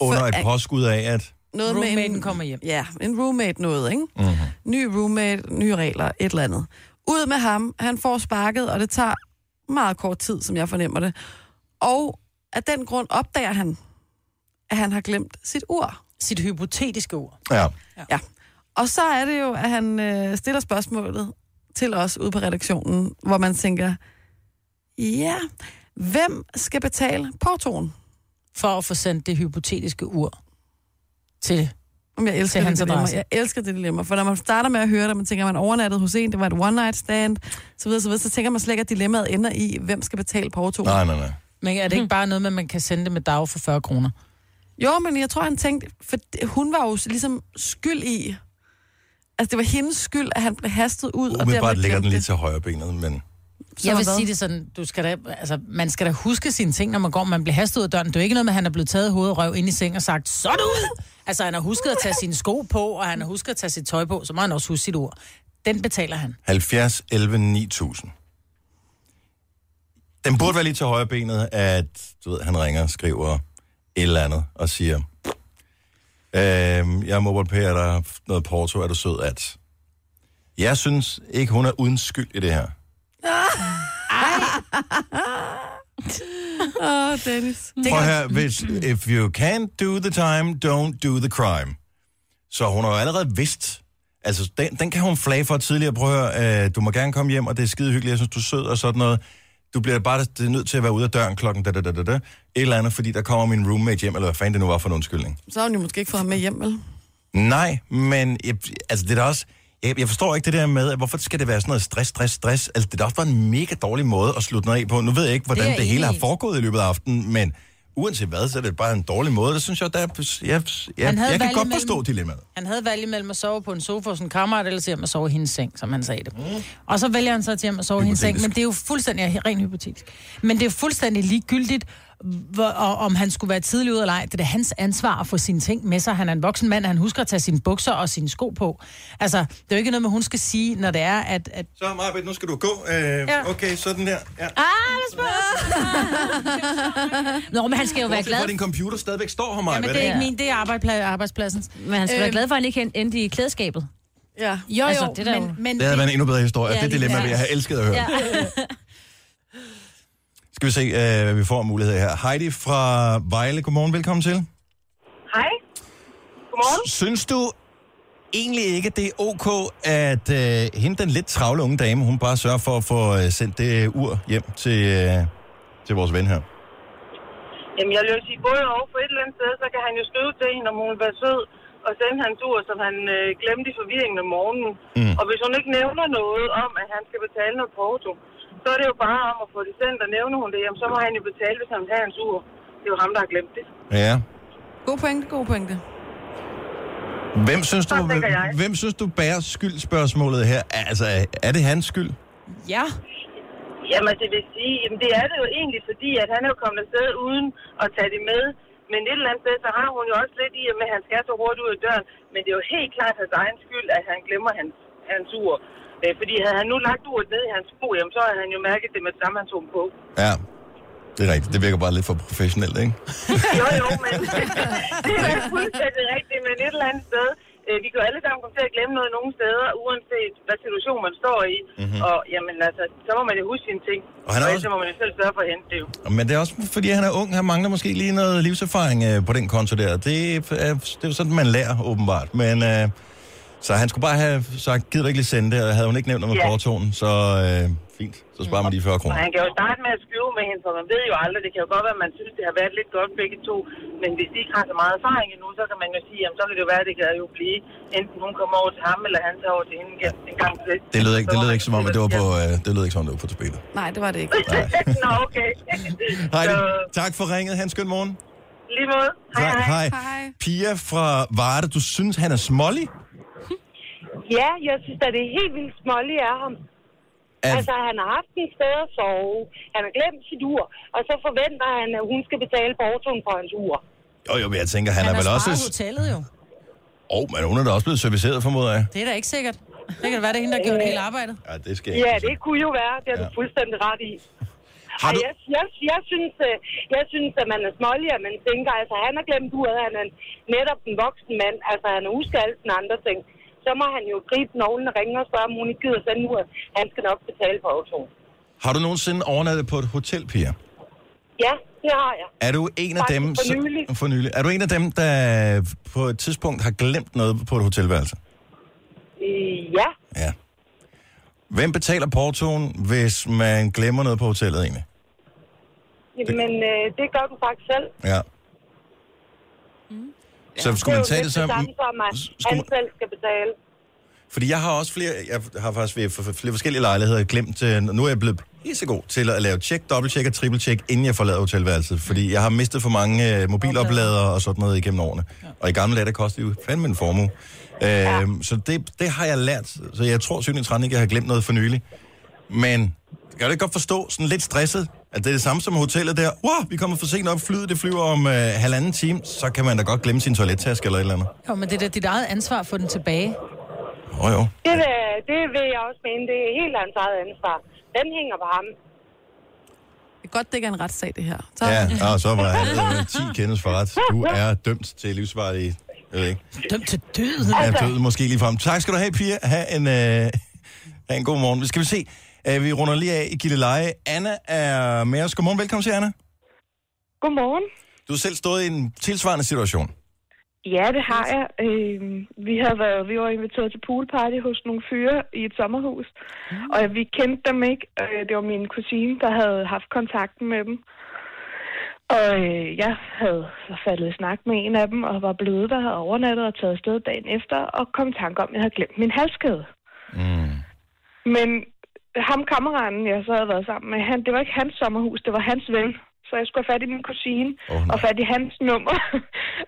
[SPEAKER 1] Under
[SPEAKER 4] For-
[SPEAKER 1] et påskud af, at...
[SPEAKER 4] noget med
[SPEAKER 3] Roommaten
[SPEAKER 4] en,
[SPEAKER 3] kommer hjem.
[SPEAKER 4] Ja, en roommate noget, ikke? Mm-hmm.
[SPEAKER 1] Mhm.
[SPEAKER 4] Ny roommate, nye regler, et eller andet. Ud med ham, han får sparket, og det tager meget kort tid, som jeg fornemmer det. Og af den grund opdager han, at han har glemt sit ur.
[SPEAKER 3] Sit hypotetiske ord.
[SPEAKER 1] Ja.
[SPEAKER 4] Ja. Og så er det jo, at han øh, stiller spørgsmålet til os ude på redaktionen, hvor man tænker, ja, hvem skal betale portoen?
[SPEAKER 3] For at få sendt det hypotetiske ur til
[SPEAKER 4] Om jeg elsker
[SPEAKER 3] Til
[SPEAKER 4] det
[SPEAKER 3] hans
[SPEAKER 4] dilemma.
[SPEAKER 3] adresse.
[SPEAKER 4] Jeg elsker det dilemma, for når man starter med at høre det, man tænker, man overnattede hos en, det var et one-night stand, så videre, så videre, så tænker man slet ikke, at dilemmaet ender i, hvem skal betale portoen.
[SPEAKER 1] Nej, nej, nej.
[SPEAKER 3] Men er det ikke bare noget med, at man kan sende det med dag for 40 kroner?
[SPEAKER 4] Jo, men jeg tror, han tænkte, for det- hun var jo ligesom skyld i, altså det var hendes skyld, at han blev hastet ud. og
[SPEAKER 1] Umiddelbart
[SPEAKER 4] dermed
[SPEAKER 1] ligger den
[SPEAKER 4] glemte
[SPEAKER 1] lige til højre benet, men...
[SPEAKER 4] det.
[SPEAKER 3] Jeg vil
[SPEAKER 4] Sådan
[SPEAKER 3] sige
[SPEAKER 4] hvad?
[SPEAKER 3] det sådan, du skal da, altså, man skal da huske sine ting, når man går, man bliver hastet ud af døren. Det er jo ikke noget med, at han er blevet taget i hovedet og røv ind i seng og sagt, så er du ud! Altså, han har husket at tage sine sko på, og han har husket at tage sit tøj på, så må han også huske sit ord. Den betaler han.
[SPEAKER 1] 70, 11, 9000. Den burde være lige til højre benet, at du ved, han ringer og skriver et eller andet og siger, øhm, jeg må pære dig noget porto, er du sød at... Jeg synes ikke, hun er uden skyld i det her.
[SPEAKER 4] Åh, oh, Dennis.
[SPEAKER 1] Prøv her, hvis, if you can't do the time, don't do the crime. Så hun har jo allerede vidst, altså den, den kan hun flage for tidligere, prøv at høre, øh, du må gerne komme hjem, og det er skide hyggeligt, jeg synes, du er sød og sådan noget. Du bliver bare det er nødt til at være ude af døren klokken da, da, da, da, da, et eller andet, fordi der kommer min roommate hjem, eller hvad fanden det nu var for en undskyldning.
[SPEAKER 4] Så har hun jo måske ikke fået ham med hjem, vel?
[SPEAKER 1] Nej, men jeg, altså det er da også... Jeg, jeg forstår ikke det der med, at hvorfor skal det være sådan noget stress, stress, stress? Altså, det er da også bare en mega dårlig måde at slutte noget af på. Nu ved jeg ikke, hvordan
[SPEAKER 3] Det er
[SPEAKER 1] det, det
[SPEAKER 3] jeg
[SPEAKER 1] hele
[SPEAKER 3] enig
[SPEAKER 1] har
[SPEAKER 3] i.
[SPEAKER 1] foregået i løbet af aftenen, men uanset hvad, så er det bare en dårlig måde. Det synes jeg, der er... Jeg, jeg,
[SPEAKER 3] Han havde
[SPEAKER 1] jeg kan
[SPEAKER 3] valget
[SPEAKER 1] godt
[SPEAKER 3] mellem-
[SPEAKER 1] forstå dilemmaet.
[SPEAKER 3] Han havde valget mellem at sove på en sofa hos en kammerat, eller hjem at sove i hendes seng, som han sagde det. Mm. Og så vælger han så til hjem at sove i hendes seng, men det er jo fuldstændig, ja, rent hypotetisk, men det er jo fuldstændig ligegyldigt, hvor, og, om han skulle være tidlig ude eller ej. Det er da hans ansvar at få sine ting med sig. Han er en voksen mand, han husker at tage sine bukser og sine sko på. Altså, det er jo ikke noget med, hun skal sige, når det er, at... at Ah,
[SPEAKER 1] Så, Marbet, nu skal du gå. Øh,
[SPEAKER 3] Ja.
[SPEAKER 1] Okay, sådan der. Ja.
[SPEAKER 2] Nå, men han skal jo være glad.
[SPEAKER 1] Hvor din computer stadigvæk står her, Marbet.
[SPEAKER 3] men det er ikke min, det er arbejdspla- arbejdspladsens.
[SPEAKER 2] Men han skal være glad for, at han ikke hen- endte i klædeskabet.
[SPEAKER 4] Ja.
[SPEAKER 3] Jo, jo,
[SPEAKER 2] Altså, det er der jo-
[SPEAKER 3] men, men
[SPEAKER 1] Det havde været en endnu bedre historie.
[SPEAKER 2] Ja,
[SPEAKER 1] Ja, det
[SPEAKER 2] lige
[SPEAKER 1] dilemma
[SPEAKER 2] præcis.
[SPEAKER 1] vil jeg have elsket at høre. Ja. Skal vi se, øh, hvad vi får af muligheder her. Heidi fra Vejle, godmorgen, velkommen til.
[SPEAKER 9] Hej. Godmorgen.
[SPEAKER 1] Synes du egentlig ikke, det er ok, at øh, hende, den lidt travle unge dame, hun bare sørger for at få øh, sendt det ur hjem til, øh, til vores ven her?
[SPEAKER 9] Jamen, jeg vil jo sige, både over for et eller andet sted, så kan han jo skrive til hende, om hun vil være sød, og sende hans ur, som han øh, glemte i forvirringen om morgenen. Mm. Og hvis hun ikke nævner noget om, at han skal betale noget porto, så er det jo bare om at få det sendt, og nævner hun det, jamen, så må han jo betale, hvis han vil have hans ur. Det er jo ham, der har glemt det.
[SPEAKER 1] Ja.
[SPEAKER 4] God pointe, god pointe.
[SPEAKER 1] Hvem synes, du,
[SPEAKER 11] Sådan tænker jeg.
[SPEAKER 1] hvem synes du bærer skyldspørgsmålet her? Altså, er- er det hans skyld?
[SPEAKER 3] Ja.
[SPEAKER 11] Jamen, det vil sige, jamen, det er det jo egentlig, fordi at han er jo kommet afsted uden at tage det med. Men et eller andet sted, så har hun jo også lidt i, at med, at han skal så hurtigt ud af døren. Men det er jo helt klart hans egen skyld, at han glemmer hans, hans ur. Øh, Fordi havde han nu lagt uret ned i hans sko, jamen, så havde han jo mærket det med det samme, han tog dem på.
[SPEAKER 1] Ja, det er rigtigt. Det virker bare lidt for professionelt, ikke?
[SPEAKER 11] Jo, jo, men det er da fuldstændig rigtigt, men et eller andet sted. øh, Vi kan jo alle sammen komme til at glemme noget nogle steder, uanset hvad situation man står i. Mm-hmm. Og jamen altså, så må man jo huske sine ting.
[SPEAKER 1] Mhm. Og han er
[SPEAKER 11] ellers
[SPEAKER 1] også-
[SPEAKER 11] så må man jo selv sørge for at hente det jo.
[SPEAKER 1] Men det er også fordi, han er ung. Han mangler måske lige noget livserfaring øh, på den konto der. Det er, øh, det er jo sådan, man lærer, åbenbart. Men, øh, så han skulle bare have sagt, gider du ikke lige sende det? Og havde hun ikke nævnt noget med
[SPEAKER 11] Ja.
[SPEAKER 1] fortonen, så øh, fint. Så sparer man lige 40
[SPEAKER 11] Og
[SPEAKER 1] kroner.
[SPEAKER 11] han kan jo starte med at skrive med hende, for man ved jo aldrig. Det kan jo godt være, at man synes, det har været lidt godt begge to. Men hvis de ikke har så meget erfaring endnu, så kan man jo sige, jamen så kan det jo være, at det kan jo blive. Enten hun kommer over til ham, eller han tager over til hende igen en gang til.
[SPEAKER 1] Det lød ikke,
[SPEAKER 11] Så
[SPEAKER 1] det
[SPEAKER 11] må
[SPEAKER 1] lød
[SPEAKER 11] man
[SPEAKER 1] ikke
[SPEAKER 11] jo
[SPEAKER 1] som om,
[SPEAKER 11] se,
[SPEAKER 1] at det var
[SPEAKER 11] hvad
[SPEAKER 1] på, øh, det lød ikke som om, det var på tapetet.
[SPEAKER 12] Nej, det var det ikke.
[SPEAKER 1] Nej.
[SPEAKER 11] der sker. Nå, okay.
[SPEAKER 1] Heidi,
[SPEAKER 11] Så,
[SPEAKER 1] tak for ringet. Han skøn morgen.
[SPEAKER 11] lige måde. Hej,
[SPEAKER 1] Tak.
[SPEAKER 11] hej.
[SPEAKER 12] Hej.
[SPEAKER 1] Pia fra Varde, du synes, han er smålig?
[SPEAKER 11] Ja, jeg synes, at det er helt vildt smålig af ham.
[SPEAKER 1] Er,
[SPEAKER 11] Altså, han har haft en sted at sove. Han har glemt sit ur. Og så forventer han, at hun skal betale portoen for hans ur.
[SPEAKER 1] jo, jo, men jeg tænker, han,
[SPEAKER 3] Han
[SPEAKER 1] er
[SPEAKER 3] har
[SPEAKER 1] vel også...
[SPEAKER 3] sparet hotellet jo.
[SPEAKER 1] Åh, oh, men hun er da også blevet serviceret, formoder jeg.
[SPEAKER 3] Det er da ikke sikkert. Det kan da være, det er hende, der gjorde hele arbejdet.
[SPEAKER 1] Ja, det skal
[SPEAKER 11] Ja,
[SPEAKER 1] ikke.
[SPEAKER 11] det kunne jo være. Det er du
[SPEAKER 1] Ja.
[SPEAKER 11] fuldstændig ret i.
[SPEAKER 1] Har
[SPEAKER 11] Ej,
[SPEAKER 1] du...
[SPEAKER 11] Jeg, jeg, jeg, synes, øh, jeg synes, at man er smålig, og man tænker, altså han har glemt uret, han er netop en voksen mand, altså han husker alle sine andre ting. Så må han jo gribe noglen og ringe og spørge, om hun ikke gider sende uret. Han skal nok betale for autoen.
[SPEAKER 1] Har du nogensinde overnattet på et hotel, Pia?
[SPEAKER 11] Ja, det har jeg.
[SPEAKER 1] Er du en af
[SPEAKER 11] Faktisk
[SPEAKER 1] dem...
[SPEAKER 11] for
[SPEAKER 1] som-
[SPEAKER 11] nylig.
[SPEAKER 1] For nylig. Er du en af dem, der på et tidspunkt har glemt noget på et hotelværelse?
[SPEAKER 11] Øh, Ja,
[SPEAKER 1] Ja. Hvem betaler portoen, hvis man glemmer noget på hotellet egentlig?
[SPEAKER 11] men øh, det gør du faktisk selv.
[SPEAKER 1] Ja.
[SPEAKER 12] Mm.
[SPEAKER 1] Så skulle man tage det som...
[SPEAKER 11] samme som, at
[SPEAKER 1] s-
[SPEAKER 11] han
[SPEAKER 1] skulle man-
[SPEAKER 11] selv skal betale.
[SPEAKER 1] Fordi jeg har også flere, jeg har faktisk ved for- for- flere forskellige lejligheder glemt, øh, nu er jeg blevet pissegod til at lave tjek, dobbelttjek og trippeltjek, inden jeg forlader hotelværelset. Fordi jeg har mistet for mange øh, mobilopladere og sådan noget igennem årene. Og i gamle dage, der kostede det jo fandme en formue. Øh, Så det, det har jeg lært. Så jeg tror synligvis ikke, jeg har glemt noget for nylig. Men jeg kan det godt forstå, sådan lidt stresset, at det er det samme som hotellet der. Wow, vi kommer for sent op, flyet det flyver om øh, halvanden time, så kan man da godt glemme sin toilettaske eller et eller andet.
[SPEAKER 3] Jo, men det er da dit eget ansvar at få den tilbage.
[SPEAKER 1] Åh oh, jo.
[SPEAKER 11] Det, vil, det vil jeg også mene. Det er helt hans eget ansvar. Den hænger på ham.
[SPEAKER 12] Det er godt, det ikke er en retssag, det her. Så,
[SPEAKER 1] Ja, og så var han 10 kendes for ret. Du er dømt til livsvarige. Jeg ved ikke.
[SPEAKER 3] Dømt til døden.
[SPEAKER 1] Er død måske lige frem. Tak skal du have, Pia. Ha' en, øh, ha en god morgen. Vi skal vi se. Øh, vi runder lige af i Gilleleje. Anna er med os. Godmorgen. Velkommen til, Anna.
[SPEAKER 11] Godmorgen.
[SPEAKER 1] Du har selv stået i en tilsvarende situation.
[SPEAKER 11] Ja, det har jeg. Øh, vi, havde været, vi var inviteret til poolparty hos nogle fyre i et sommerhus, mm. og vi kendte dem ikke. Øh, det var min kusine, der havde haft kontakten med dem. Og øh, jeg havde så faldet i snak med en af dem, og var blevet der, havde overnattet og taget afsted dagen efter, og kom i tanke om, at jeg havde glemt min halskæde.
[SPEAKER 1] Mm.
[SPEAKER 11] Men ham kammeraten, jeg så havde været sammen med, han, det var ikke hans sommerhus, det var hans ven. Så jeg skulle have fat i min kusine
[SPEAKER 1] Åh,
[SPEAKER 11] oh,
[SPEAKER 1] nej.
[SPEAKER 11] og fat i hans nummer.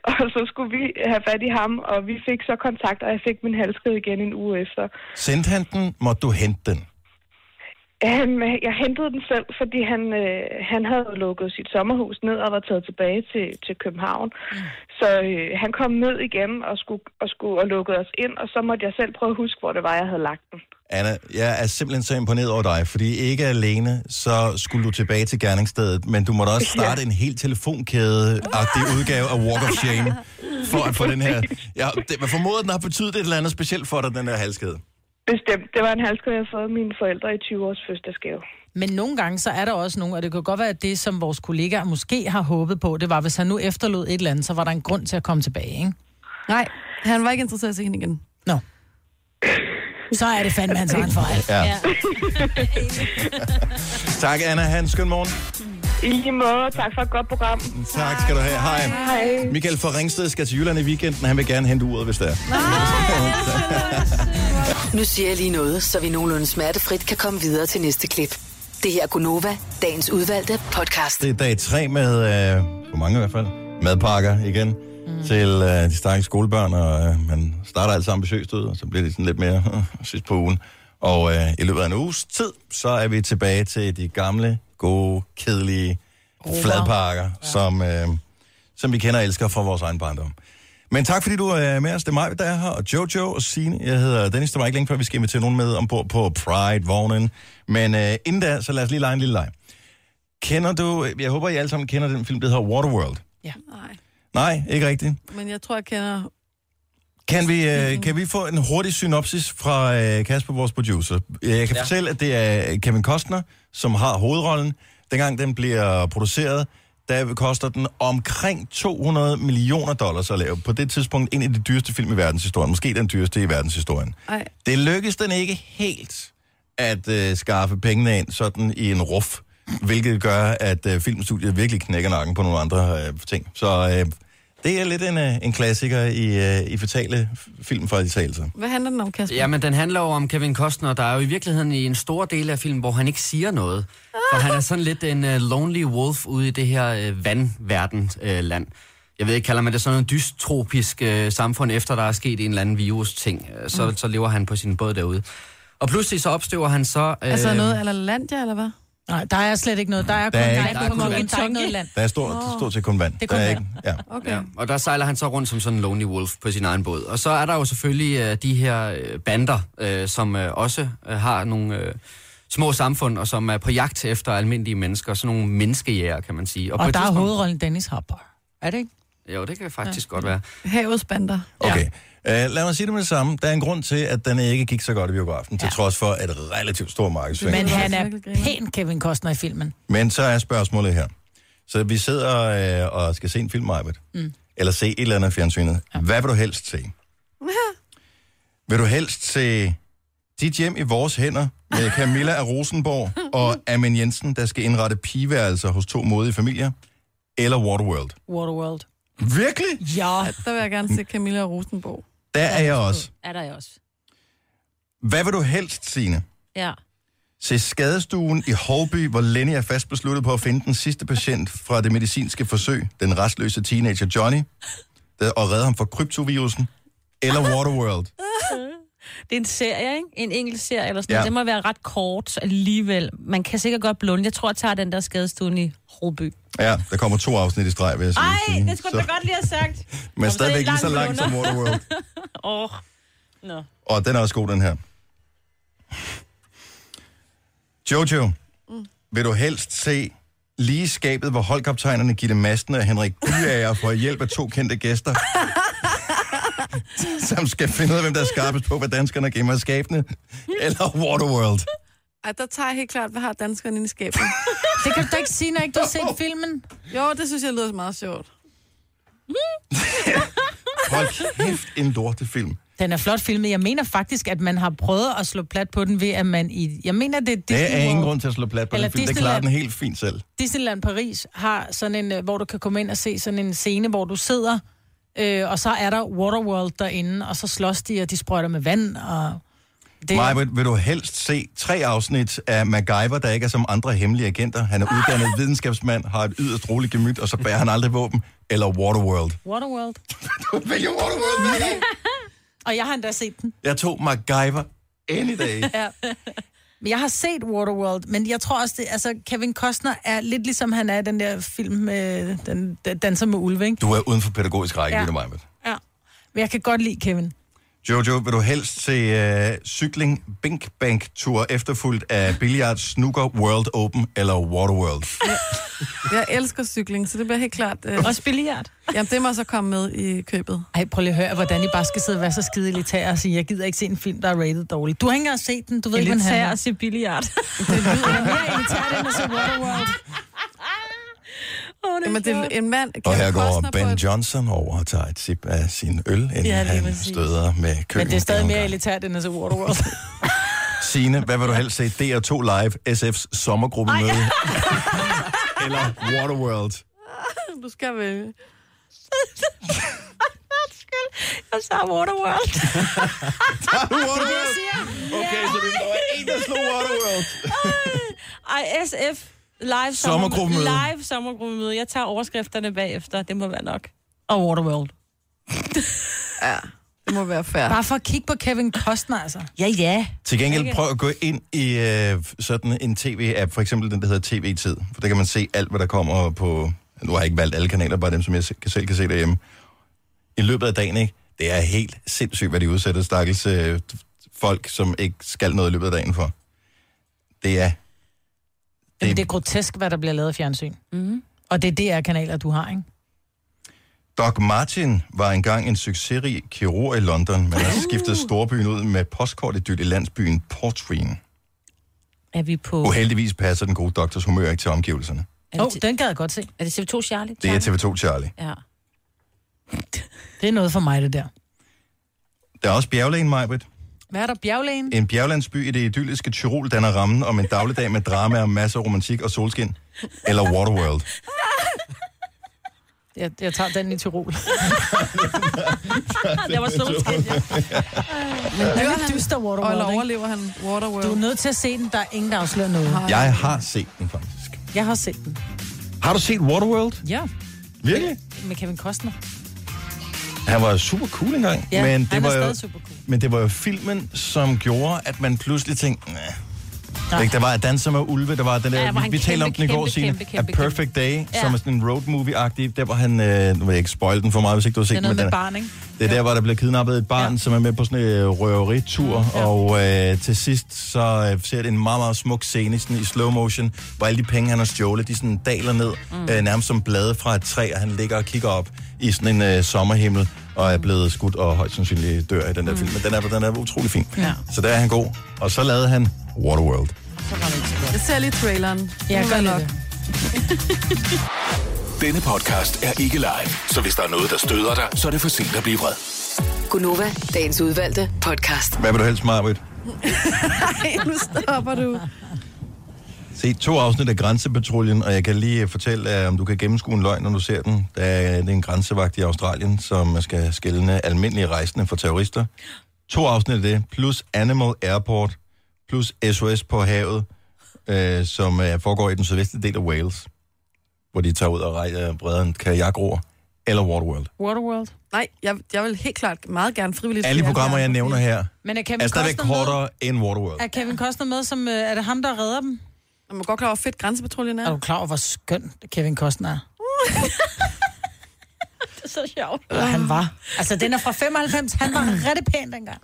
[SPEAKER 11] og så skulle vi have fat i ham, og vi fik så kontakt, og jeg fik min halskede igen en uge efter.
[SPEAKER 1] Sendte han den, måtte du hente den.
[SPEAKER 11] Han, Øhm, jeg hentede den selv, fordi han, øh, han havde lukket sit sommerhus ned og var taget tilbage til, til København. Mm. Så øh, han kom ned igen og, skulle, og, skulle, og lukkede os ind, og så måtte jeg selv prøve at huske, hvor det var, jeg havde lagt den.
[SPEAKER 1] Anna, jeg er simpelthen så imponeret over dig, fordi ikke alene, så skulle du tilbage til gerningsstedet, men du måtte også starte en helt telefonkæde-agtig udgave af Walk of Shame, for at få den her... Ja, det, man formoder, den har betydet et eller andet specielt for dig, den der halskæde.
[SPEAKER 11] Bestemt. Det var en halskede, jeg havde fået af mine forældre i 20 års fødselsdagsgave.
[SPEAKER 3] Men nogle gange, så er der også nogen, og det kan godt være, at det, som vores kollegaer måske har håbet på, det var, hvis han nu efterlod et eller andet, så var der en grund til at komme tilbage, ikke?
[SPEAKER 12] nej, han var ikke interesseret i at se hende igen.
[SPEAKER 3] Nå. Så er det fandme hans egen fejl.
[SPEAKER 1] Ja. ja. tak, Anna. Ha' en skøn morgen.
[SPEAKER 11] I lige måde. Tak for et godt program.
[SPEAKER 1] Tak skal du have. Hej. Hej. Michael fra Ringsted skal til Jylland i weekenden. Han vil gerne hente uret, hvis det er.
[SPEAKER 5] Nu siger jeg lige noget, så vi nogenlunde smertefrit kan komme videre til næste klip. Det her er Gunova, dagens udvalgte podcast.
[SPEAKER 1] Det er dag tre med, øh, for mange i hvert fald, madpakker igen. mm. til øh, de stakkels skolebørn, og øh, man starter altså ambitiøst ud, og så bliver det sådan lidt mere øh, sidst på ugen. Og øh, i løbet af en uges tid, så er vi tilbage til de gamle, gode, kedelige fladpakker, ja. som, øh, som vi kender og elsker fra vores egen barndom. Men tak fordi du er med os. Det er mig, der er her, og Jojo og Signe. Jeg hedder Dennis, der var ikke længe før, vi skal invitere nogen med ombord på Pride-vognen. Men øh, inden da, så lad os lige lege en lille leg. Kender du, jeg håber, I alle sammen kender den film, der hedder Waterworld.
[SPEAKER 4] Nej,
[SPEAKER 1] Nej, ikke rigtigt.
[SPEAKER 4] men jeg tror, jeg kender...
[SPEAKER 1] Kan vi, øh, kan vi få en hurtig synopsis fra øh, Kasper, vores producer? Jeg kan ja. fortælle, at det er Kevin Costner, som har hovedrollen. Dengang den bliver produceret, der koster den omkring 200 millioner dollars at lave. På det tidspunkt en af de dyreste film i verdenshistorien. Måske den dyreste i verdenshistorien.
[SPEAKER 4] Ej,
[SPEAKER 1] Det lykkedes den ikke helt at øh, skaffe pengene ind sådan i en ruf, hvilket gør, at øh, filmstudiet virkelig knækker nakken på nogle andre øh, ting. Så øh, det er lidt en, øh, en klassiker i, øh, i fatale f- filmfejltagelser.
[SPEAKER 4] hvad handler den om, Kasper?
[SPEAKER 13] Jamen, den handler jo om Kevin Costner, der er jo i virkeligheden i en stor del af filmen, hvor han ikke siger noget. For han er sådan lidt en uh, lonely wolf ude i det her uh, vandverden-land. Uh, land. jeg ved ikke, kalder man det sådan noget dystropisk uh, samfund, efter der er sket en eller anden virus-ting. Uh, så,
[SPEAKER 4] Mm.
[SPEAKER 13] så lever han på sin båd derude. Og pludselig så opstøver han så... Uh,
[SPEAKER 4] Altså noget eller Landia, eller hvad?
[SPEAKER 3] Nej, der er slet ikke noget. Der er kun
[SPEAKER 1] Der er
[SPEAKER 3] der
[SPEAKER 1] ikke-
[SPEAKER 3] er kun
[SPEAKER 13] der er kun
[SPEAKER 3] vand. Der er ikke noget land.
[SPEAKER 1] Der er stort, oh. stort set kun vand. Det
[SPEAKER 3] er kun
[SPEAKER 1] der
[SPEAKER 3] vand.
[SPEAKER 1] Ikke, ja.
[SPEAKER 4] Okay.
[SPEAKER 13] Ja, og der sejler han så rundt som sådan en lonely wolf på sin egen båd. Og så er der jo selvfølgelig øh, de her øh, bander, øh, som øh, også øh, har nogle øh, små samfund, og som er på jagt efter almindelige mennesker. Sådan nogle menneskejæger, kan man sige. på
[SPEAKER 3] Og
[SPEAKER 13] et
[SPEAKER 3] der er
[SPEAKER 13] tidspunkt-
[SPEAKER 3] hovedrollen Dennis Hopper. Er det ikke?
[SPEAKER 13] Jo, det kan faktisk ja. godt være.
[SPEAKER 4] Havets bander.
[SPEAKER 1] Okay. Uh, lad mig sige det med det samme. Der er en grund til, at den ikke gik så godt i biografen, ja. til trods for et relativt stort markedsføring.
[SPEAKER 3] Men
[SPEAKER 4] Det er
[SPEAKER 3] han er
[SPEAKER 4] virkelig griner.
[SPEAKER 3] pæn Kevin Costner i filmen.
[SPEAKER 1] Men så er spørgsmålet her. Så vi sidder øh, og skal se en film, Arbet, mm. eller se et eller andet af fjernsynet. Ja. Hvad vil du helst se? vil du helst se Dit hjem i vores hænder med Camilla af Rosenborg og Amin Jensen, der skal indrette pigeværelser hos to modige familier, eller Waterworld?
[SPEAKER 3] Waterworld.
[SPEAKER 1] Virkelig?
[SPEAKER 3] Ja.
[SPEAKER 4] Der vil jeg gerne se Camilla Rosenborg.
[SPEAKER 1] Der er jeg også.
[SPEAKER 2] Er der jo også.
[SPEAKER 1] Hvad vil du helst, Signe?
[SPEAKER 2] Ja.
[SPEAKER 1] Se skadestuen i Holby, hvor Lenny er fast besluttet på at finde den sidste patient fra det medicinske forsøg, den restløse teenager Johnny, der- og redde ham fra kryptovirusen, eller Waterworld.
[SPEAKER 2] Det er en serie, ikke? En enkelt serie eller sådan
[SPEAKER 1] Ja.
[SPEAKER 2] ja. Det må være ret kort alligevel. Man kan sikkert godt blunde. Jeg tror, jeg tager den der skadestuen i Roby.
[SPEAKER 1] Ja, der kommer to afsnit i streg, vil jeg sige.
[SPEAKER 2] Ej, det skulle
[SPEAKER 1] Så-
[SPEAKER 2] jeg da godt lige have sagt.
[SPEAKER 1] Men
[SPEAKER 2] Nå,
[SPEAKER 1] stadigvæk
[SPEAKER 2] det er
[SPEAKER 1] lige så langt
[SPEAKER 2] langt
[SPEAKER 1] som Waterworld.
[SPEAKER 2] Åh. Oh. Nå.
[SPEAKER 1] Og den er også god, den her. Jojo,
[SPEAKER 3] Mm.
[SPEAKER 1] vil du helst se lige i skabet, hvor holdkaptajnerne Gitte Madsen og Henrik Byager får hjælp af to kendte gæster, som skal finde ud af, hvem der er skarpest på, hvad danskerne gemmer i skabene, eller Waterworld.
[SPEAKER 4] Ej, der tager jeg helt klart, hvad har danskerne inde i skabet?
[SPEAKER 3] Det kan du da ikke sige, når ikke du har set filmen.
[SPEAKER 4] jo, det synes jeg lyder meget sjovt.
[SPEAKER 1] Hold kæft, en lortefilm.
[SPEAKER 3] Den er flot filmet. Jeg mener faktisk, at man har prøvet at slå plat på den ved, at man i... Jeg mener, det er
[SPEAKER 1] Det
[SPEAKER 3] Disney
[SPEAKER 1] er ingen
[SPEAKER 3] World.
[SPEAKER 1] grund til at slå plat på
[SPEAKER 3] Eller
[SPEAKER 1] den film. Det
[SPEAKER 3] Disneyland.
[SPEAKER 1] klarer den helt fint selv.
[SPEAKER 3] Disneyland Paris har sådan en, øh, hvor du kan komme ind og se sådan en scene, hvor du sidder, øh, og så er der Waterworld derinde, og så slås de, og de sprøjter med vand, og... Det,
[SPEAKER 1] Maja, vil, vil du helst se tre afsnit af MacGyver, der ikke er som andre hemmelige agenter? Han
[SPEAKER 3] Ah.
[SPEAKER 1] er uddannet videnskabsmand, har et yderst roligt gemyt, og så bærer han aldrig våben. Eller Waterworld.
[SPEAKER 3] Waterworld.
[SPEAKER 1] Du vælger Waterworld, Maja.
[SPEAKER 3] Og jeg har endda set den.
[SPEAKER 1] Jeg tog MacGyver any day.
[SPEAKER 3] Men jeg har set Waterworld, men jeg tror også, det, altså Kevin Costner er lidt ligesom han er i den der film, med den, den danser med ulve, ikke?
[SPEAKER 1] Du er uden for pædagogisk rækkevidde,
[SPEAKER 3] Ja.
[SPEAKER 1] Maja.
[SPEAKER 3] Ja. Men jeg kan godt lide Kevin.
[SPEAKER 1] Jojo, vil du helst se øh, cykling Bink Bank Tour efterfulgt af Billiard Snooker World Open eller Waterworld?
[SPEAKER 4] Jeg elsker cykling, så det bliver helt klart... Øh,
[SPEAKER 2] Også billiard.
[SPEAKER 4] jamen, det må så komme med i købet.
[SPEAKER 3] Ej, prøv lige at høre, hvordan I bare skal sidde og være så skide elitære og sige, jeg gider ikke se en film, der er rated dårligt. Du har ikke engang set den, du ved ikke, hvad den handler.
[SPEAKER 2] Elitær
[SPEAKER 3] om.
[SPEAKER 2] at se billiard. Åh,
[SPEAKER 3] Det er mere elitært end at se Waterworld.
[SPEAKER 2] oh, det
[SPEAKER 4] Jamen, det er en mand...
[SPEAKER 1] Og
[SPEAKER 4] Kevin
[SPEAKER 1] her går
[SPEAKER 4] Costner på
[SPEAKER 1] Ben
[SPEAKER 4] et-
[SPEAKER 1] Johnson over og tager et sip af sin øl, inden
[SPEAKER 4] Ja,
[SPEAKER 1] ja,
[SPEAKER 4] lige
[SPEAKER 1] han
[SPEAKER 4] præcis.
[SPEAKER 1] støder med køen.
[SPEAKER 3] Men det er stadig
[SPEAKER 1] endnu en
[SPEAKER 3] mere
[SPEAKER 1] gang.
[SPEAKER 3] elitært end at se Waterworld.
[SPEAKER 1] Signe, hvad vil du helst se? DR2 Live, SF's sommergruppemøde? Eller Waterworld?
[SPEAKER 4] Du skal vælge.
[SPEAKER 2] Jeg tager Waterworld.
[SPEAKER 1] Har du Waterworld?
[SPEAKER 2] Ah,
[SPEAKER 1] Okay, så det var en, der slog Waterworld.
[SPEAKER 2] Ej, SF. Live sommer-
[SPEAKER 1] Sommergruppemøde.
[SPEAKER 2] Live sommergruppemøde. Jeg tager overskrifterne bagefter. Det må være nok. og Waterworld.
[SPEAKER 4] ja, det må være fair.
[SPEAKER 3] Bare for at kigge på Kevin Costner, altså.
[SPEAKER 2] Ja, ja.
[SPEAKER 1] Til gengæld prøv at gå ind i øh, sådan en tv-app, for eksempel den, der hedder TV-tid, for der kan man se alt, hvad der kommer på... Nu har jeg ikke valgt alle kanaler, bare dem, som jeg se- kan- selv kan se derhjemme. I løbet af dagen, ikke? Det er helt sindssygt, hvad de udsætter stakkels øh, folk, som ikke skal noget i løbet af dagen for. Det er...
[SPEAKER 3] Jamen, det er grotesk, hvad der bliver lavet af fjernsyn.
[SPEAKER 2] Mhm.
[SPEAKER 3] Mm-hmm. Og det er DR-kanaler, du har, ikke?
[SPEAKER 1] Doc Martin var engang en succesrig kirurg i London, men
[SPEAKER 3] Uh.
[SPEAKER 1] har skiftet storbyen ud med postkortedyl i landsbyen Portreen.
[SPEAKER 2] Er vi på...
[SPEAKER 1] Uheldigvis passer den gode doktors humør ikke til omgivelserne.
[SPEAKER 2] Åh, oh, den gad jeg godt se. Er det TV2 Charlie?
[SPEAKER 1] Det er TV2 Charlie.
[SPEAKER 2] Ja.
[SPEAKER 3] Det er noget for mig, det der.
[SPEAKER 1] Der er også bjerglægen, Majbrit.
[SPEAKER 3] Hvad er der, bjerglægen?
[SPEAKER 1] En bjerglandsby i det idylliske Tyrol danner rammen om en dagligdag med drama og masser af romantik og solskin. Eller Waterworld.
[SPEAKER 3] Jeg, jeg tager den i Tirol.
[SPEAKER 2] det var solskin,
[SPEAKER 1] ja.
[SPEAKER 3] Men det
[SPEAKER 4] Dør
[SPEAKER 3] er lidt
[SPEAKER 4] han?
[SPEAKER 3] dyster Waterworld,
[SPEAKER 4] Eller
[SPEAKER 3] ikke?
[SPEAKER 4] overlever han Waterworld?
[SPEAKER 3] Du er nødt til at se den, der er ingen, der afslører noget.
[SPEAKER 1] Jeg har set den faktisk.
[SPEAKER 3] Jeg har set den.
[SPEAKER 1] Har du set Waterworld?
[SPEAKER 3] Ja,
[SPEAKER 1] Virkelig?
[SPEAKER 3] med Kevin Costner.
[SPEAKER 1] Han var super cool engang.
[SPEAKER 3] Ja,
[SPEAKER 1] men
[SPEAKER 3] han
[SPEAKER 1] det
[SPEAKER 3] er
[SPEAKER 1] var jo,
[SPEAKER 3] stadig super cool.
[SPEAKER 1] Men det var jo filmen, som gjorde, at man pludselig tænkte, nej.
[SPEAKER 3] Nej.
[SPEAKER 1] Ikke, der var Danser med Ulve, der var den der,
[SPEAKER 2] Ja,
[SPEAKER 1] ja,
[SPEAKER 2] hvor han
[SPEAKER 1] vi, vi talte om
[SPEAKER 2] kæmpe,
[SPEAKER 1] den i går,
[SPEAKER 2] kæmpe,
[SPEAKER 1] Signe,
[SPEAKER 2] kæmpe, kæmpe,
[SPEAKER 1] A Perfect Day,
[SPEAKER 2] Ja.
[SPEAKER 1] ja. som er sådan en road movie-agtig, der var han, øh, nu vil jeg ikke spoil den for meget, hvis ikke du har set
[SPEAKER 3] Det er noget med
[SPEAKER 1] den, men den,
[SPEAKER 3] barn, ikke?
[SPEAKER 1] det er der, hvor der bliver kidnappet et barn, ja. som er med på sådan en øh, røveritur, ja. og øh, til sidst så øh, ser det en meget, meget smuk scene sådan i slow motion, hvor alle de penge, han har stjålet, de sådan daler ned, mm. øh, nærmest som blade fra et træ, og han ligger og kigger op i sådan en øh, sommerhimmel, og er blevet skudt og højst sandsynligt dør i den der mm. film, men den er, den er utrolig fin.
[SPEAKER 3] Ja.
[SPEAKER 1] Så der er han god. Og så lavede han Waterworld.
[SPEAKER 4] Jeg ser lige traileren.
[SPEAKER 3] Jeg
[SPEAKER 4] Det må
[SPEAKER 3] gør
[SPEAKER 4] være
[SPEAKER 3] lige
[SPEAKER 4] nok.
[SPEAKER 3] det.
[SPEAKER 6] Denne podcast er ikke live, så hvis der er noget, der støder dig, så er det for sent at blive vred.
[SPEAKER 5] Gunova, dagens udvalgte podcast.
[SPEAKER 1] Hvad vil du helst, Marvitt?
[SPEAKER 4] Ej, nu stopper du.
[SPEAKER 1] Se to afsnit af Grænsepatruljen, og jeg kan lige øh, fortælle, øh, om du kan gennemskue en løgn, når du ser den. Der er øh, det er en grænsevagt i Australien, som øh, skal skælne almindelige rejsende for terrorister. To afsnit af det, plus Animal Airport, plus SOS på havet, øh, som øh, foregår i den sydvestlige del af Wales, hvor de tager ud og rejser bredere en kajakroer, eller Waterworld.
[SPEAKER 3] Waterworld.
[SPEAKER 4] Nej, jeg, jeg vil helt klart meget gerne frivilligt...
[SPEAKER 1] Alle de programmer, jeg nævner her,
[SPEAKER 3] Men øh, er Kevin
[SPEAKER 1] er stadigvæk
[SPEAKER 3] Costner med?
[SPEAKER 1] kortere end Waterworld.
[SPEAKER 3] Er Kevin Costner med, som... øh, Er det ham, der redder dem?
[SPEAKER 4] Man må godt klare, hvor fedt grænsepatruljen
[SPEAKER 3] Er
[SPEAKER 4] er.
[SPEAKER 3] du klar over, hvor skøn Kevin Costner er?
[SPEAKER 2] Det er så sjovt.
[SPEAKER 3] Eller han var. Altså, den er fra 95. Han var rigtig pæn dengang.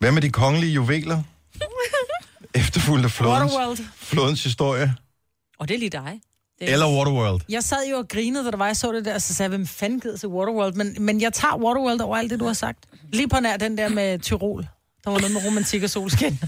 [SPEAKER 1] Hvad med de kongelige juveler? Efterfulgt af flodens,
[SPEAKER 3] Waterworld.
[SPEAKER 1] flodens historie.
[SPEAKER 2] Og det er lige dig. Det er
[SPEAKER 1] Eller Waterworld.
[SPEAKER 3] Jeg sad jo og grinede, da der var, jeg så det der, og så sagde jeg, hvem fanden gider til Waterworld? Men, men jeg tager Waterworld over alt det, du har sagt. Lige på nær den der med Tyrol. Der var noget med romantik og solskin.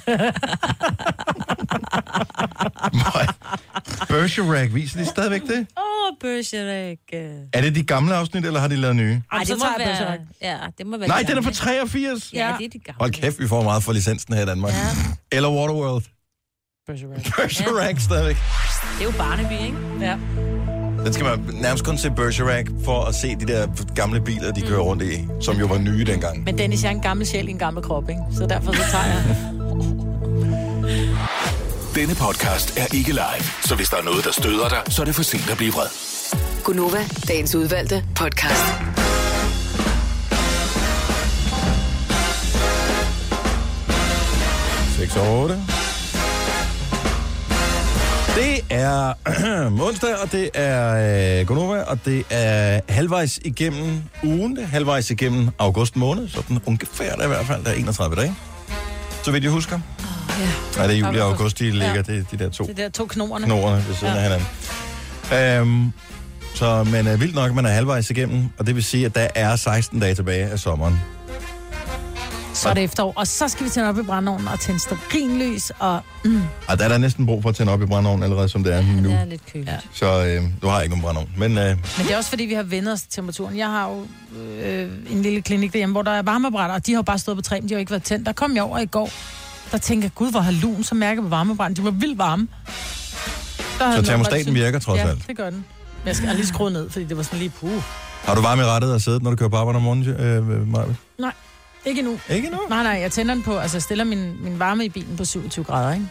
[SPEAKER 1] Bergerac, viser de stadigvæk det?
[SPEAKER 2] Åh, oh, Bergerac. Ej,
[SPEAKER 1] Er det de gamle afsnit, eller har de lavet nye?
[SPEAKER 3] så
[SPEAKER 2] det må
[SPEAKER 3] tager jeg Bergerac.
[SPEAKER 2] være... Ja, det må være...
[SPEAKER 1] Nej,
[SPEAKER 2] de
[SPEAKER 1] den er
[SPEAKER 2] gamle.
[SPEAKER 1] fra 83.
[SPEAKER 2] Ja, det er de gamle.
[SPEAKER 1] Hold kæft, vi får meget for licensen her i Danmark. Ja. Eller Waterworld.
[SPEAKER 3] Bergerac.
[SPEAKER 1] Bergerac stadigvæk.
[SPEAKER 2] Det er jo Barnaby, ikke? Ja.
[SPEAKER 1] Den skal man nærmest kun se Bergerac for at se de der gamle biler, de kører rundt i, som jo var nye dengang.
[SPEAKER 3] Men Dennis, jeg er en gammel sjæl i en gammel krop, ikke? Så derfor så tager jeg...
[SPEAKER 6] Denne podcast er ikke live, så hvis der er noget, der støder dig, så er det for sent at blive vred.
[SPEAKER 5] Gunova, dagens udvalgte podcast.
[SPEAKER 1] Seks og 8. Det er onsdag, og det er øh, Gonova, og det er halvvejs igennem ugen, det er halvvejs igennem august måned, så den ungefær der i hvert fald, der er 31 dage. Så vidt jeg husker. Oh, ja. Nej, det er juli og august, de ligger, ja. det, er de der to
[SPEAKER 3] Det der to knorerne.
[SPEAKER 1] knorene ved siden ja. af hinanden. Øhm, så man er vildt nok, man er halvvejs igennem, og det vil sige, at der er 16 dage tilbage af sommeren.
[SPEAKER 3] Så er det efterår. Og så skal vi tænde op i brændeovnen og tænde stearinlys. Og Mm.
[SPEAKER 1] Og der er der næsten brug for at tænde op i brændeovnen allerede, som det er nu.
[SPEAKER 2] Det er lidt køligt. Ja.
[SPEAKER 1] Så øh, du har ikke nogen brændeovn. Men øh,
[SPEAKER 3] Men det er også fordi, vi har vendt os til temperaturen. Jeg har jo øh, en lille klinik derhjemme, hvor der er varmebrænder, og de har jo bare stået på træen, de har jo ikke været tændt. Der kom jeg over i går, der tænkte jeg, gud, hvor har lun så mærke på varmebrænden. De var vildt varme. Der havde den
[SPEAKER 1] termostaten
[SPEAKER 3] åbenbart-
[SPEAKER 1] virker trods
[SPEAKER 3] ja,
[SPEAKER 1] alt? Ah.
[SPEAKER 3] det gør den. Men jeg skal jeg har lige skrue ned, fordi det var sådan lige puh.
[SPEAKER 1] har du varme i rettet og siddet, når du kører på arbejde om morgenen, øh, øh, Maja?
[SPEAKER 3] Nej, ikke endnu.
[SPEAKER 1] Ikke nu.
[SPEAKER 3] Nej, nej, jeg tænder den på, altså jeg stiller min, min varme i bilen på 27 grader, ikke?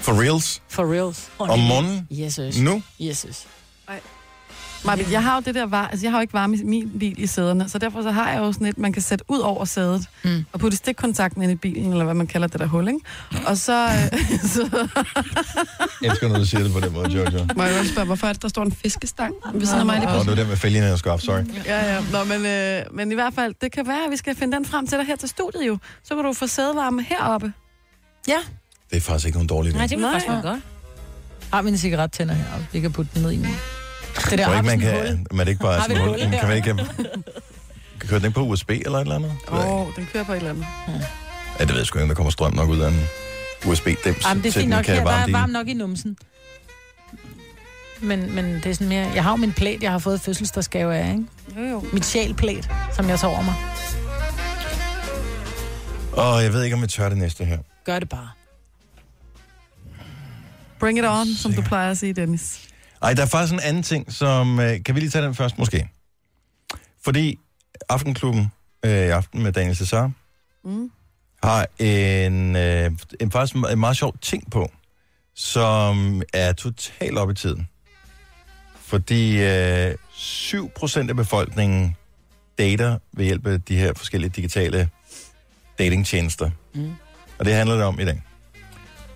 [SPEAKER 1] For reals?
[SPEAKER 3] For reals.
[SPEAKER 1] Om morgenen?
[SPEAKER 3] Yes, yes.
[SPEAKER 1] Nu?
[SPEAKER 3] Yes, yes.
[SPEAKER 4] Marvind, jeg har jo det der var, altså jeg har jo ikke varme i min bil i sæderne, så derfor så har jeg jo sådan et, man kan sætte ud over sædet, mm. og putte stikkontakten ind i bilen, eller hvad man kalder det der hul, ikke? Og så, øh, så
[SPEAKER 1] Jeg elsker, når du siger det på den måde, Jojo.
[SPEAKER 14] Må jeg godt spørge, hvorfor er det, der står en fiskestang ved siden af mig? Det
[SPEAKER 1] Nå, det var det med fælgen, jeg skulle op, sorry.
[SPEAKER 4] Ja, ja. Nå, men, øh, men i hvert fald, det kan være, at vi skal finde den frem til dig her til studiet jo. Så kan du få sædevarme heroppe.
[SPEAKER 3] Ja.
[SPEAKER 1] Det er faktisk ikke nogen dårlig idé.
[SPEAKER 3] Nej, det må faktisk være godt. Har min cigaret tænder her, og vi kan putte den ned i nu. Det der
[SPEAKER 1] Tror ikke, man
[SPEAKER 3] Absen-hul.
[SPEAKER 1] kan, man er det ikke bare
[SPEAKER 3] Har vi
[SPEAKER 1] sådan
[SPEAKER 3] et
[SPEAKER 1] hul?
[SPEAKER 3] hul
[SPEAKER 1] Kan man
[SPEAKER 3] der?
[SPEAKER 1] ikke... Kan køre den ikke på USB eller et eller andet? Det ved jeg ikke.
[SPEAKER 4] Åh, oh, den kører på et eller andet.
[SPEAKER 1] Ja, det ved jeg sgu ikke, om der kommer strøm nok ud af en USB-dims.
[SPEAKER 3] Jamen, det er
[SPEAKER 1] til
[SPEAKER 3] fint
[SPEAKER 1] den
[SPEAKER 3] nok
[SPEAKER 1] kan
[SPEAKER 3] her, der
[SPEAKER 1] varme
[SPEAKER 3] er
[SPEAKER 1] din-
[SPEAKER 3] varmt nok i numsen. Men, men det er sådan mere... Jeg har jo min plæt, jeg har fået i fødselsdagsgave af, ikke?
[SPEAKER 4] Jo, jo.
[SPEAKER 3] Mit sjælplæt, som jeg tager over mig.
[SPEAKER 1] Åh, jeg ved ikke, om jeg tør det næste her.
[SPEAKER 3] Gør det bare.
[SPEAKER 4] Bring it on, som du plejer at sige, Dennis.
[SPEAKER 1] Ej, der er faktisk en anden ting, som... Øh, kan vi lige tage den først, måske? Fordi Aftenklubben øh, i aften med Daniel Cesar
[SPEAKER 4] Mm.
[SPEAKER 1] har en, øh, en faktisk en meget sjov ting på, som er totalt op i tiden. Fordi øh, 7% af befolkningen dater ved hjælp af de her forskellige digitale datingtjenester.
[SPEAKER 8] Mm.
[SPEAKER 1] Og det handler det om i dag.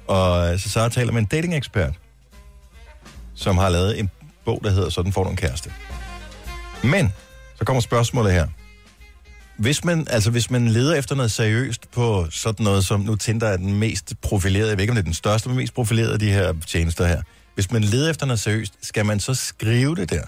[SPEAKER 1] Og øh, så Sara taler med en datingekspert, som har lavet en bog, der hedder Sådan får du en kæreste. Men, så kommer spørgsmålet her. Hvis man, altså hvis man leder efter noget seriøst på sådan noget som, nu Tinder er den mest profilerede, jeg ved ikke om det er den største, men mest profilerede af de her tjenester her. Hvis man leder efter noget seriøst, skal man så skrive det der?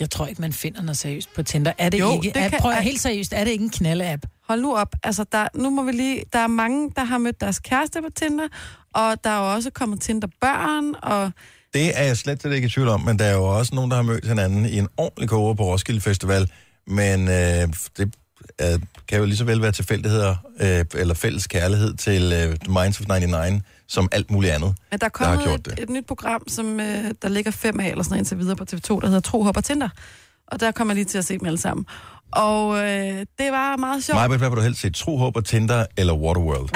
[SPEAKER 3] Jeg tror ikke, man finder noget seriøst på Tinder. Er det
[SPEAKER 4] Jo,
[SPEAKER 3] ikke?
[SPEAKER 4] det
[SPEAKER 3] er,
[SPEAKER 4] kan-
[SPEAKER 3] prøv
[SPEAKER 4] er-
[SPEAKER 3] at helt seriøst, er det ikke en knalde-app?
[SPEAKER 4] Hold nu op. Altså, der, nu må vi lige... Der er mange, der har mødt deres kæreste på Tinder, og der er jo også kommet Tinder-børn, og...
[SPEAKER 1] Det er jeg slet slet ikke i tvivl om, men der er jo også nogen, der har mødt hinanden i en ordentlig koger på Roskilde Festival. Men øh, det øh, kan jo lige så vel være tilfældigheder, øh, eller fælles kærlighed til øh, Minds of 99, som alt muligt andet.
[SPEAKER 4] Men der er
[SPEAKER 1] der har
[SPEAKER 4] kommet
[SPEAKER 1] gjort
[SPEAKER 4] et, et nyt program, som øh, der ligger fem af eller sådan noget indtil videre på TV2, der hedder Tro Hopper Tinder. Og der kommer jeg lige til at se dem alle sammen. Og øh, det var meget sjovt.
[SPEAKER 1] Maja, hvad vil du helst se? Tro, håb og Tinder eller Waterworld?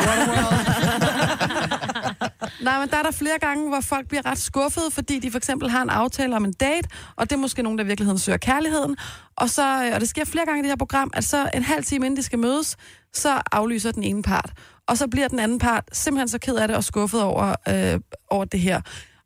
[SPEAKER 4] Nej, men der er der flere gange, hvor folk bliver ret skuffede, fordi de for eksempel har en aftale om en date, og det er måske nogen, der i virkeligheden søger kærligheden. Og, så, øh, og det sker flere gange i det her program, at så en halv time inden de skal mødes, så aflyser den ene part. Og så bliver den anden part simpelthen så ked af det og skuffet over, øh, over det her.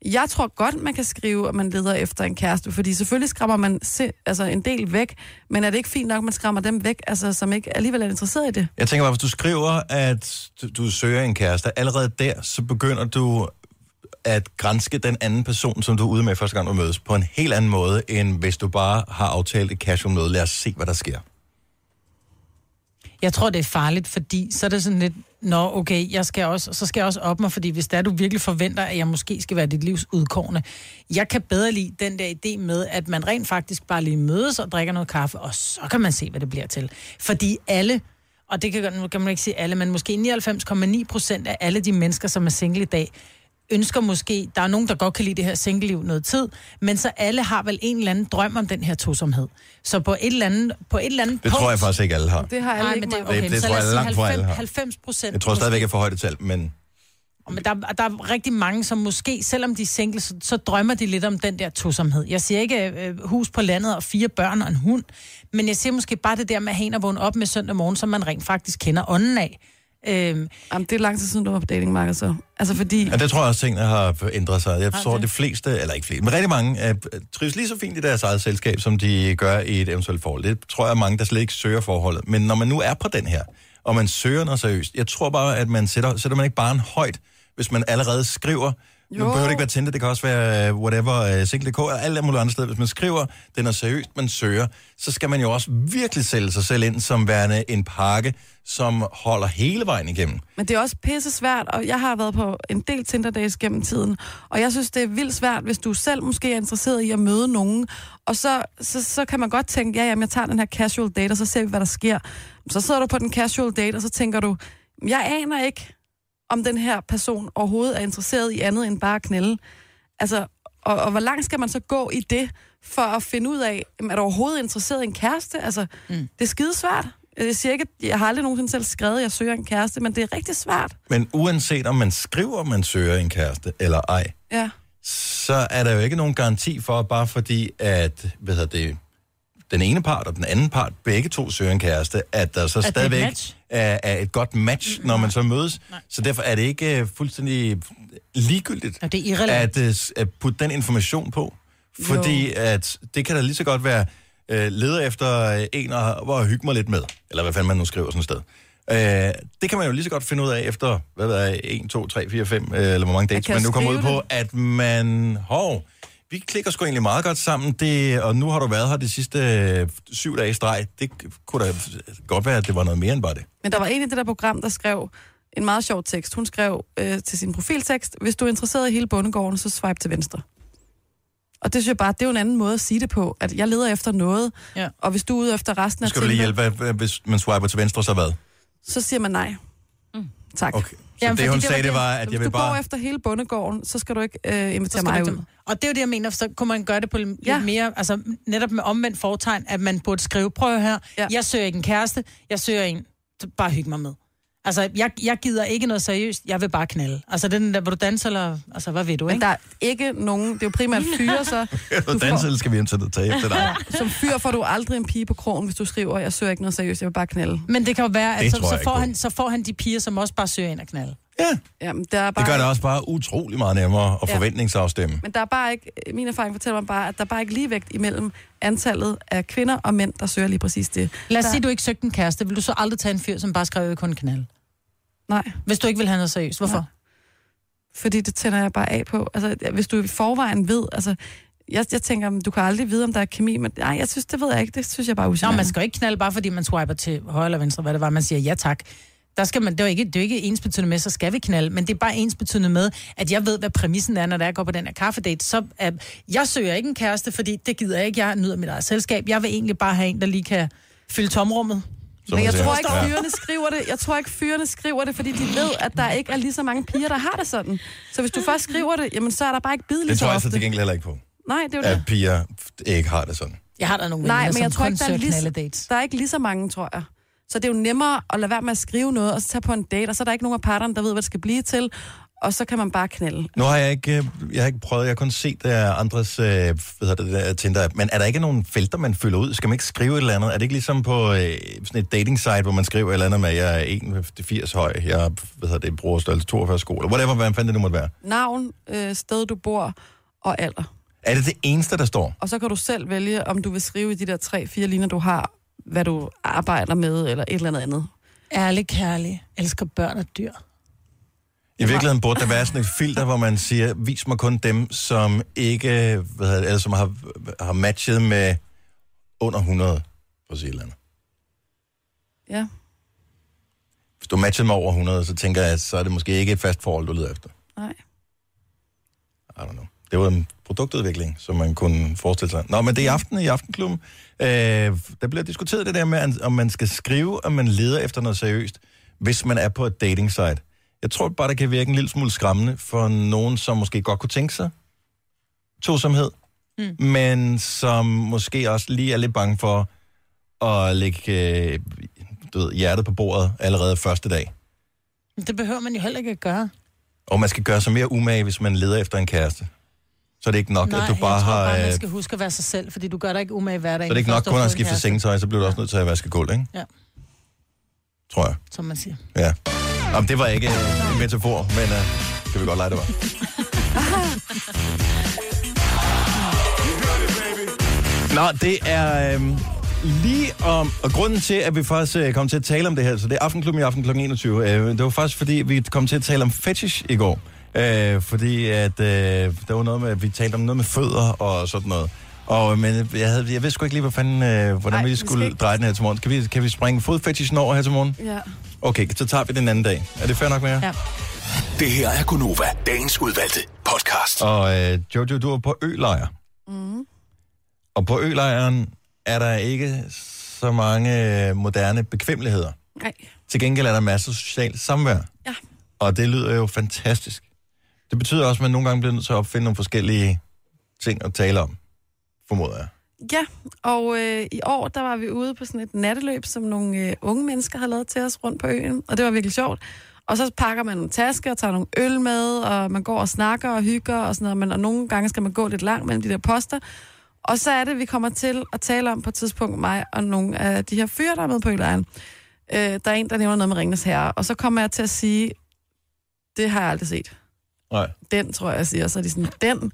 [SPEAKER 4] Jeg tror godt, man kan skrive, at man leder efter en kæreste, fordi selvfølgelig skræmmer man se, altså en del væk, men er det ikke fint nok, at man skræmmer dem væk, altså, som ikke alligevel er interesseret i det?
[SPEAKER 1] Jeg tænker bare, hvis du skriver, at du, du søger en kæreste, allerede der, så begynder du at grænske den anden person, som du er ude med første gang, du mødes, på en helt anden måde, end hvis du bare har aftalt et casual møde. Lad os se, hvad der sker.
[SPEAKER 3] Jeg tror, det er farligt, fordi så er det sådan lidt, nå, okay, jeg skal også, så skal jeg også op mig, fordi hvis der du virkelig forventer, at jeg måske skal være dit livs udkårende. Jeg kan bedre lide den der idé med, at man rent faktisk bare lige mødes og drikker noget kaffe, og så kan man se, hvad det bliver til. Fordi alle, og det kan, godt- nu kan man ikke sige alle, men måske 99,9 procent af alle de mennesker, som er single i dag, ønsker måske, der er nogen, der godt kan lide det her single-liv noget tid, men så alle har vel en eller anden drøm om den her tosomhed. Så på et eller andet, på et eller andet
[SPEAKER 1] Det tror jeg
[SPEAKER 3] punkt-
[SPEAKER 1] faktisk ikke, alle har.
[SPEAKER 4] Det har alle
[SPEAKER 3] Nej,
[SPEAKER 4] ikke
[SPEAKER 3] men det,
[SPEAKER 4] meget.
[SPEAKER 3] okay,
[SPEAKER 1] Det- det
[SPEAKER 3] så
[SPEAKER 1] tror
[SPEAKER 3] lad os
[SPEAKER 1] jeg
[SPEAKER 3] sige
[SPEAKER 1] langt fra alle
[SPEAKER 3] 90
[SPEAKER 1] har.
[SPEAKER 3] 90 procent.
[SPEAKER 1] Jeg tror stadigvæk, jeg får højt et tal, men
[SPEAKER 3] Men der, der er rigtig mange, som måske, selvom de er single, så, så drømmer de lidt om den der tosomhed. Jeg siger ikke øh, hus på landet og fire børn og en hund, men jeg siger måske bare det der med at hen og vågne op med søndag morgen, som man rent faktisk kender ånden af. Øhm,
[SPEAKER 4] Jamen, det er lang tid siden, du var på datingmarkedet, så. Altså, fordi...
[SPEAKER 1] ja, det tror jeg også, tingene har ændret sig. Jeg
[SPEAKER 4] Har
[SPEAKER 1] tror,
[SPEAKER 4] det?
[SPEAKER 1] det fleste, eller ikke fleste, men rigtig mange, øh, trives lige så fint i deres eget selskab, som de gør i et eventuelt forhold. Det tror jeg, er mange, der slet ikke søger forholdet. Men når man nu er på den her, og man søger noget seriøst, jeg tror bare, at man sætter, sætter man ikke bare en højt, hvis man allerede skriver, jo. nu
[SPEAKER 4] Jo.
[SPEAKER 1] behøver det ikke være Tinder, det kan også være øh, whatever, uh, single.dk, eller alle mulige andre steder. Hvis man skriver, den er seriøst, man søger, så skal man jo også virkelig sælge sig selv ind som værende en pakke, som holder hele vejen igennem.
[SPEAKER 4] Men det er også pisse svært, og jeg har været på en del Tinder-dates gennem tiden, og jeg synes, det er vildt svært, hvis du selv måske er interesseret i at møde nogen, og så, så, så kan man godt tænke, ja, jamen, jeg tager den her casual date, og så ser vi, hvad der sker. Så sidder du på den casual date, og så tænker du, jeg aner ikke, om den her person overhovedet er interesseret i andet end bare at knælde. Altså, og, og hvor langt skal man så gå i det, for at finde ud af, jamen, er du overhovedet interesseret i en kæreste? Altså, mm. det er skidesvært. Jeg siger ikke, at jeg har aldrig nogensinde selv skrevet, at jeg søger en kæreste, men det er rigtig svært.
[SPEAKER 1] Men uanset om man skriver, at man søger en kæreste eller ej,
[SPEAKER 4] Ja.
[SPEAKER 1] så er der jo ikke nogen garanti for, bare fordi, at hvad hedder det, den ene part og den anden part, begge to søger en kæreste, at der så
[SPEAKER 15] At det er et
[SPEAKER 1] stadigvæk
[SPEAKER 15] match.
[SPEAKER 1] er, er et godt match, når man så mødes. Nej. Så derfor er det ikke uh, fuldstændig ligegyldigt
[SPEAKER 3] Og det er
[SPEAKER 1] at,
[SPEAKER 3] irrelevant.
[SPEAKER 1] øh, s- at putte den information på. Fordi at det kan da lige så godt være, øh, leder efter øh, en og, og hygge mig lidt med. Eller hvad fanden man nu skriver sådan et sted. Øh, det kan man jo lige så godt finde ud af efter, hvad ved jeg, 1, 2, 3, 4, 5, øh, eller hvor mange dates
[SPEAKER 15] kan
[SPEAKER 1] man nu kommer ud
[SPEAKER 15] skrive
[SPEAKER 1] på, at man, hov, vi klikker sgu egentlig meget godt sammen, det, og nu har du været her de sidste øh, syv dage i streg. Det kunne da godt være, at det var noget mere end bare det.
[SPEAKER 4] Men der var en i det der program, der skrev en meget sjov tekst. Hun skrev øh, til sin profiltekst, hvis du er interesseret i hele bondegården, så swipe til venstre. Og det synes jeg bare, det er jo en anden måde at sige det på, at jeg leder efter noget,
[SPEAKER 3] ja.
[SPEAKER 4] og hvis du er ude efter resten af
[SPEAKER 1] Skal du lige
[SPEAKER 4] tingene,
[SPEAKER 1] hjælpe, hvad- hvad- hvis man swiper til venstre, så hvad?
[SPEAKER 4] så siger man nej. Mm. Tak.
[SPEAKER 1] Okay. Så det, hun sagde, det var, at jeg
[SPEAKER 4] hvis
[SPEAKER 1] vil
[SPEAKER 4] du
[SPEAKER 1] bare...
[SPEAKER 4] går efter hele bondegården, så skal du ikke øh,
[SPEAKER 3] Så
[SPEAKER 4] invitere
[SPEAKER 3] skal man
[SPEAKER 4] mig
[SPEAKER 3] ikke
[SPEAKER 4] ud.
[SPEAKER 3] dem- Og det er jo det, jeg mener, så kunne man gøre det på lidt ja. mere, altså netop med omvendt fortegn, at man burde skrive, prøv her, ja. jeg søger ikke en kæreste, jeg søger en, så bare hygge mig med. Altså, jeg, jeg gider ikke noget seriøst, jeg vil bare knalde. Altså, den der, hvor du danser, eller, altså, hvad ved du, ikke? Men
[SPEAKER 4] der er ikke nogen, det er jo primært fyre, så...
[SPEAKER 1] Hvordan danser, skal vi hjem til at tage efter dig?
[SPEAKER 4] Som fyr får du aldrig en pige på krogen, hvis du skriver, jeg søger ikke noget seriøst, jeg vil bare knalde.
[SPEAKER 3] Men det kan jo være,
[SPEAKER 1] Det
[SPEAKER 3] at så,
[SPEAKER 1] tror jeg
[SPEAKER 3] så,
[SPEAKER 1] ikke
[SPEAKER 3] får
[SPEAKER 1] på.
[SPEAKER 3] han, så får han de piger, som også bare søger ind og knalde.
[SPEAKER 1] Ja.
[SPEAKER 4] Jamen, der er bare...
[SPEAKER 1] Det gør det også bare utrolig meget nemmere at
[SPEAKER 4] Ja.
[SPEAKER 1] forventningsafstemme.
[SPEAKER 4] Men der er bare ikke, min erfaring fortæller mig bare, at der er bare ikke ligevægt imellem antallet af kvinder og mænd, der søger lige præcis det.
[SPEAKER 3] Lad os
[SPEAKER 4] der...
[SPEAKER 3] sige, du ikke søgte en kæreste. Vil du så aldrig tage en fyr, som bare skrev, jeg vil kun knalde?
[SPEAKER 4] Nej.
[SPEAKER 3] Hvis du ikke vil have noget seriøst. Hvorfor? Nej.
[SPEAKER 4] Fordi det tænder jeg bare af på. Altså, hvis du i forvejen ved, altså, jeg, jeg tænker, du kan aldrig vide, om der er kemi, men nej, jeg synes, det ved jeg ikke. Det synes jeg bare er
[SPEAKER 3] Nå,
[SPEAKER 4] usikker.
[SPEAKER 3] man skal jo ikke knalde, bare fordi man swiper til højre eller venstre, hvad det var, man siger ja tak. Der skal man, det, er jo ikke, det er jo ikke ensbetydende med, så skal vi knalde, men det er bare ensbetydende med, at jeg ved, hvad præmissen er, når jeg går på den her kaffedate. Så uh, jeg søger ikke en kæreste, fordi det gider jeg ikke. Jeg nyder mit eget selskab. Jeg vil egentlig bare have en, der lige kan fylde tomrummet.
[SPEAKER 4] Men jeg tror ikke, fyrene skriver det. Jeg tror ikke, fyrene skriver det, fordi de ved, at der ikke er lige så mange piger, der har det sådan. Så hvis du først skriver det, jamen, så er der bare ikke bid lige
[SPEAKER 1] Det
[SPEAKER 4] så
[SPEAKER 1] tror jeg altså,
[SPEAKER 4] ofte.
[SPEAKER 1] så til gengæld heller ikke på.
[SPEAKER 4] Nej, det er jo det.
[SPEAKER 1] At piger ikke har det sådan.
[SPEAKER 3] Jeg har da nogle
[SPEAKER 4] Nej,
[SPEAKER 3] veninder,
[SPEAKER 4] men
[SPEAKER 3] som
[SPEAKER 4] jeg tror
[SPEAKER 3] kun
[SPEAKER 4] ikke, der er,
[SPEAKER 3] søger
[SPEAKER 4] lige,
[SPEAKER 3] knaldedates.
[SPEAKER 4] der er ikke lige så mange, tror jeg. Så det er jo nemmere at lade være med at skrive noget, og så tage på en date, og så er der ikke nogen af parterne, der ved, hvad det skal blive til, og så kan man bare knalde.
[SPEAKER 1] Nu har jeg ikke, øh, jeg har ikke prøvet, jeg har kun set uh, andres uh, hvad hedder det, der Tinder. Men er der ikke nogen felter, man fylder ud? Skal man ikke skrive et eller andet? Er det ikke ligesom på uh, sådan et dating site, hvor man skriver et eller andet med, jeg er 1,80 høj, jeg hvad hedder det, bruger størrelse 42 sko, eller whatever, hvad fanden det nu måtte være.
[SPEAKER 4] Navn, øh, sted du bor og alder.
[SPEAKER 1] Er det det eneste, der står?
[SPEAKER 4] Og så kan du selv vælge, om du vil skrive i de der tre-fire linjer, du har, hvad du arbejder med, eller et eller andet andet.
[SPEAKER 3] Ærlig, kærlig. Elsker børn og dyr.
[SPEAKER 1] I virkeligheden burde der være sådan et filter, hvor man siger, vis mig kun dem, som ikke, hvad hedder det, eller som har, har matchet med under 100, for at sige et eller andet.
[SPEAKER 4] Ja.
[SPEAKER 1] Hvis du matcher med over 100, så tænker jeg, så er det måske ikke et fast forhold, du leder efter.
[SPEAKER 4] Nej.
[SPEAKER 1] I don't know. Det var en produktudvikling, som man kunne forestille sig. Nå, men det er i aften i Aftenklubben. Øh, der bliver diskuteret det der med, om man skal skrive, om man leder efter noget seriøst, hvis man er på et dating site. Jeg tror bare, det kan virke en lille smule skræmmende for nogen, som måske godt kunne tænke sig tosomhed, mm. men som måske også lige er lidt bange for at lægge øh, du ved, hjertet på bordet allerede første dag.
[SPEAKER 3] Men det behøver man jo heller ikke at gøre.
[SPEAKER 1] Og man skal gøre sig mere umage, hvis man leder efter en kæreste. Så er det ikke nok,
[SPEAKER 3] Nej,
[SPEAKER 1] at du bare
[SPEAKER 3] jeg tror
[SPEAKER 1] har...
[SPEAKER 3] bare,
[SPEAKER 1] øh,
[SPEAKER 3] man skal huske at være sig selv, fordi du gør dig ikke umage i hverdagen.
[SPEAKER 1] Så er det ikke nok
[SPEAKER 3] Først, du har
[SPEAKER 1] kun at
[SPEAKER 3] fået en
[SPEAKER 1] skifte
[SPEAKER 3] kæreste,
[SPEAKER 1] sengetøj, så bliver du også nødt til at vaske gulv, ikke?
[SPEAKER 3] Ja.
[SPEAKER 1] Tror jeg.
[SPEAKER 3] Som man siger.
[SPEAKER 1] Ja. Om det var ikke øh, en metafor, men uh, kan vi godt lege, det var. Nå, det er øhm, lige om... Og grunden til, at vi faktisk øh, kom til at tale om det her, så det er Aftenklubben i aften kl. 21. Øh, det var faktisk, fordi vi kom til at tale om fetish i går. Øh, fordi at, øh, der var noget med, vi talte om noget med fødder og sådan noget. Og, øh, men jeg, havde, jeg vidste sgu ikke lige, hvad fanden, øh, hvordan Ej, vi skulle dreje den her til morgen. Kan vi, kan vi springe fodfetishen over her til morgen?
[SPEAKER 4] Ja.
[SPEAKER 1] Okay, så tager vi den anden dag. Er det fair nok med jer?
[SPEAKER 3] Ja.
[SPEAKER 6] Det her er Gunova, dagens udvalgte podcast.
[SPEAKER 1] Og øh, Jojo, du er på ølejr.
[SPEAKER 4] Mm.
[SPEAKER 1] Og på ølejren er der ikke så mange øh, moderne bekvemmeligheder.
[SPEAKER 4] Nej.
[SPEAKER 1] Til gengæld er der masser af socialt samvær.
[SPEAKER 4] Ja.
[SPEAKER 1] Og det lyder jo fantastisk. Det betyder også, at man nogle gange bliver nødt til at opfinde nogle forskellige ting at tale om, formoder jeg.
[SPEAKER 4] Ja, og øh, i år, der var vi ude på sådan et natteløb, som nogle øh, unge mennesker havde lavet til os rundt på øen, og det var virkelig sjovt. Og så pakker man nogle tasker og tager nogle øl med, og man går og snakker og hygger og sådan noget. Men, og nogle gange skal man gå lidt langt mellem de der poster. Og så er det, vi kommer til at tale om på et tidspunkt, mig og nogle af de her fyre, der er med på ølejren. Øh, der er en, der nævner noget med Ringens Herre, og så kommer jeg til at sige, det har jeg aldrig set.
[SPEAKER 1] Nej.
[SPEAKER 4] Den, tror jeg, jeg siger. Og så er de sådan, den,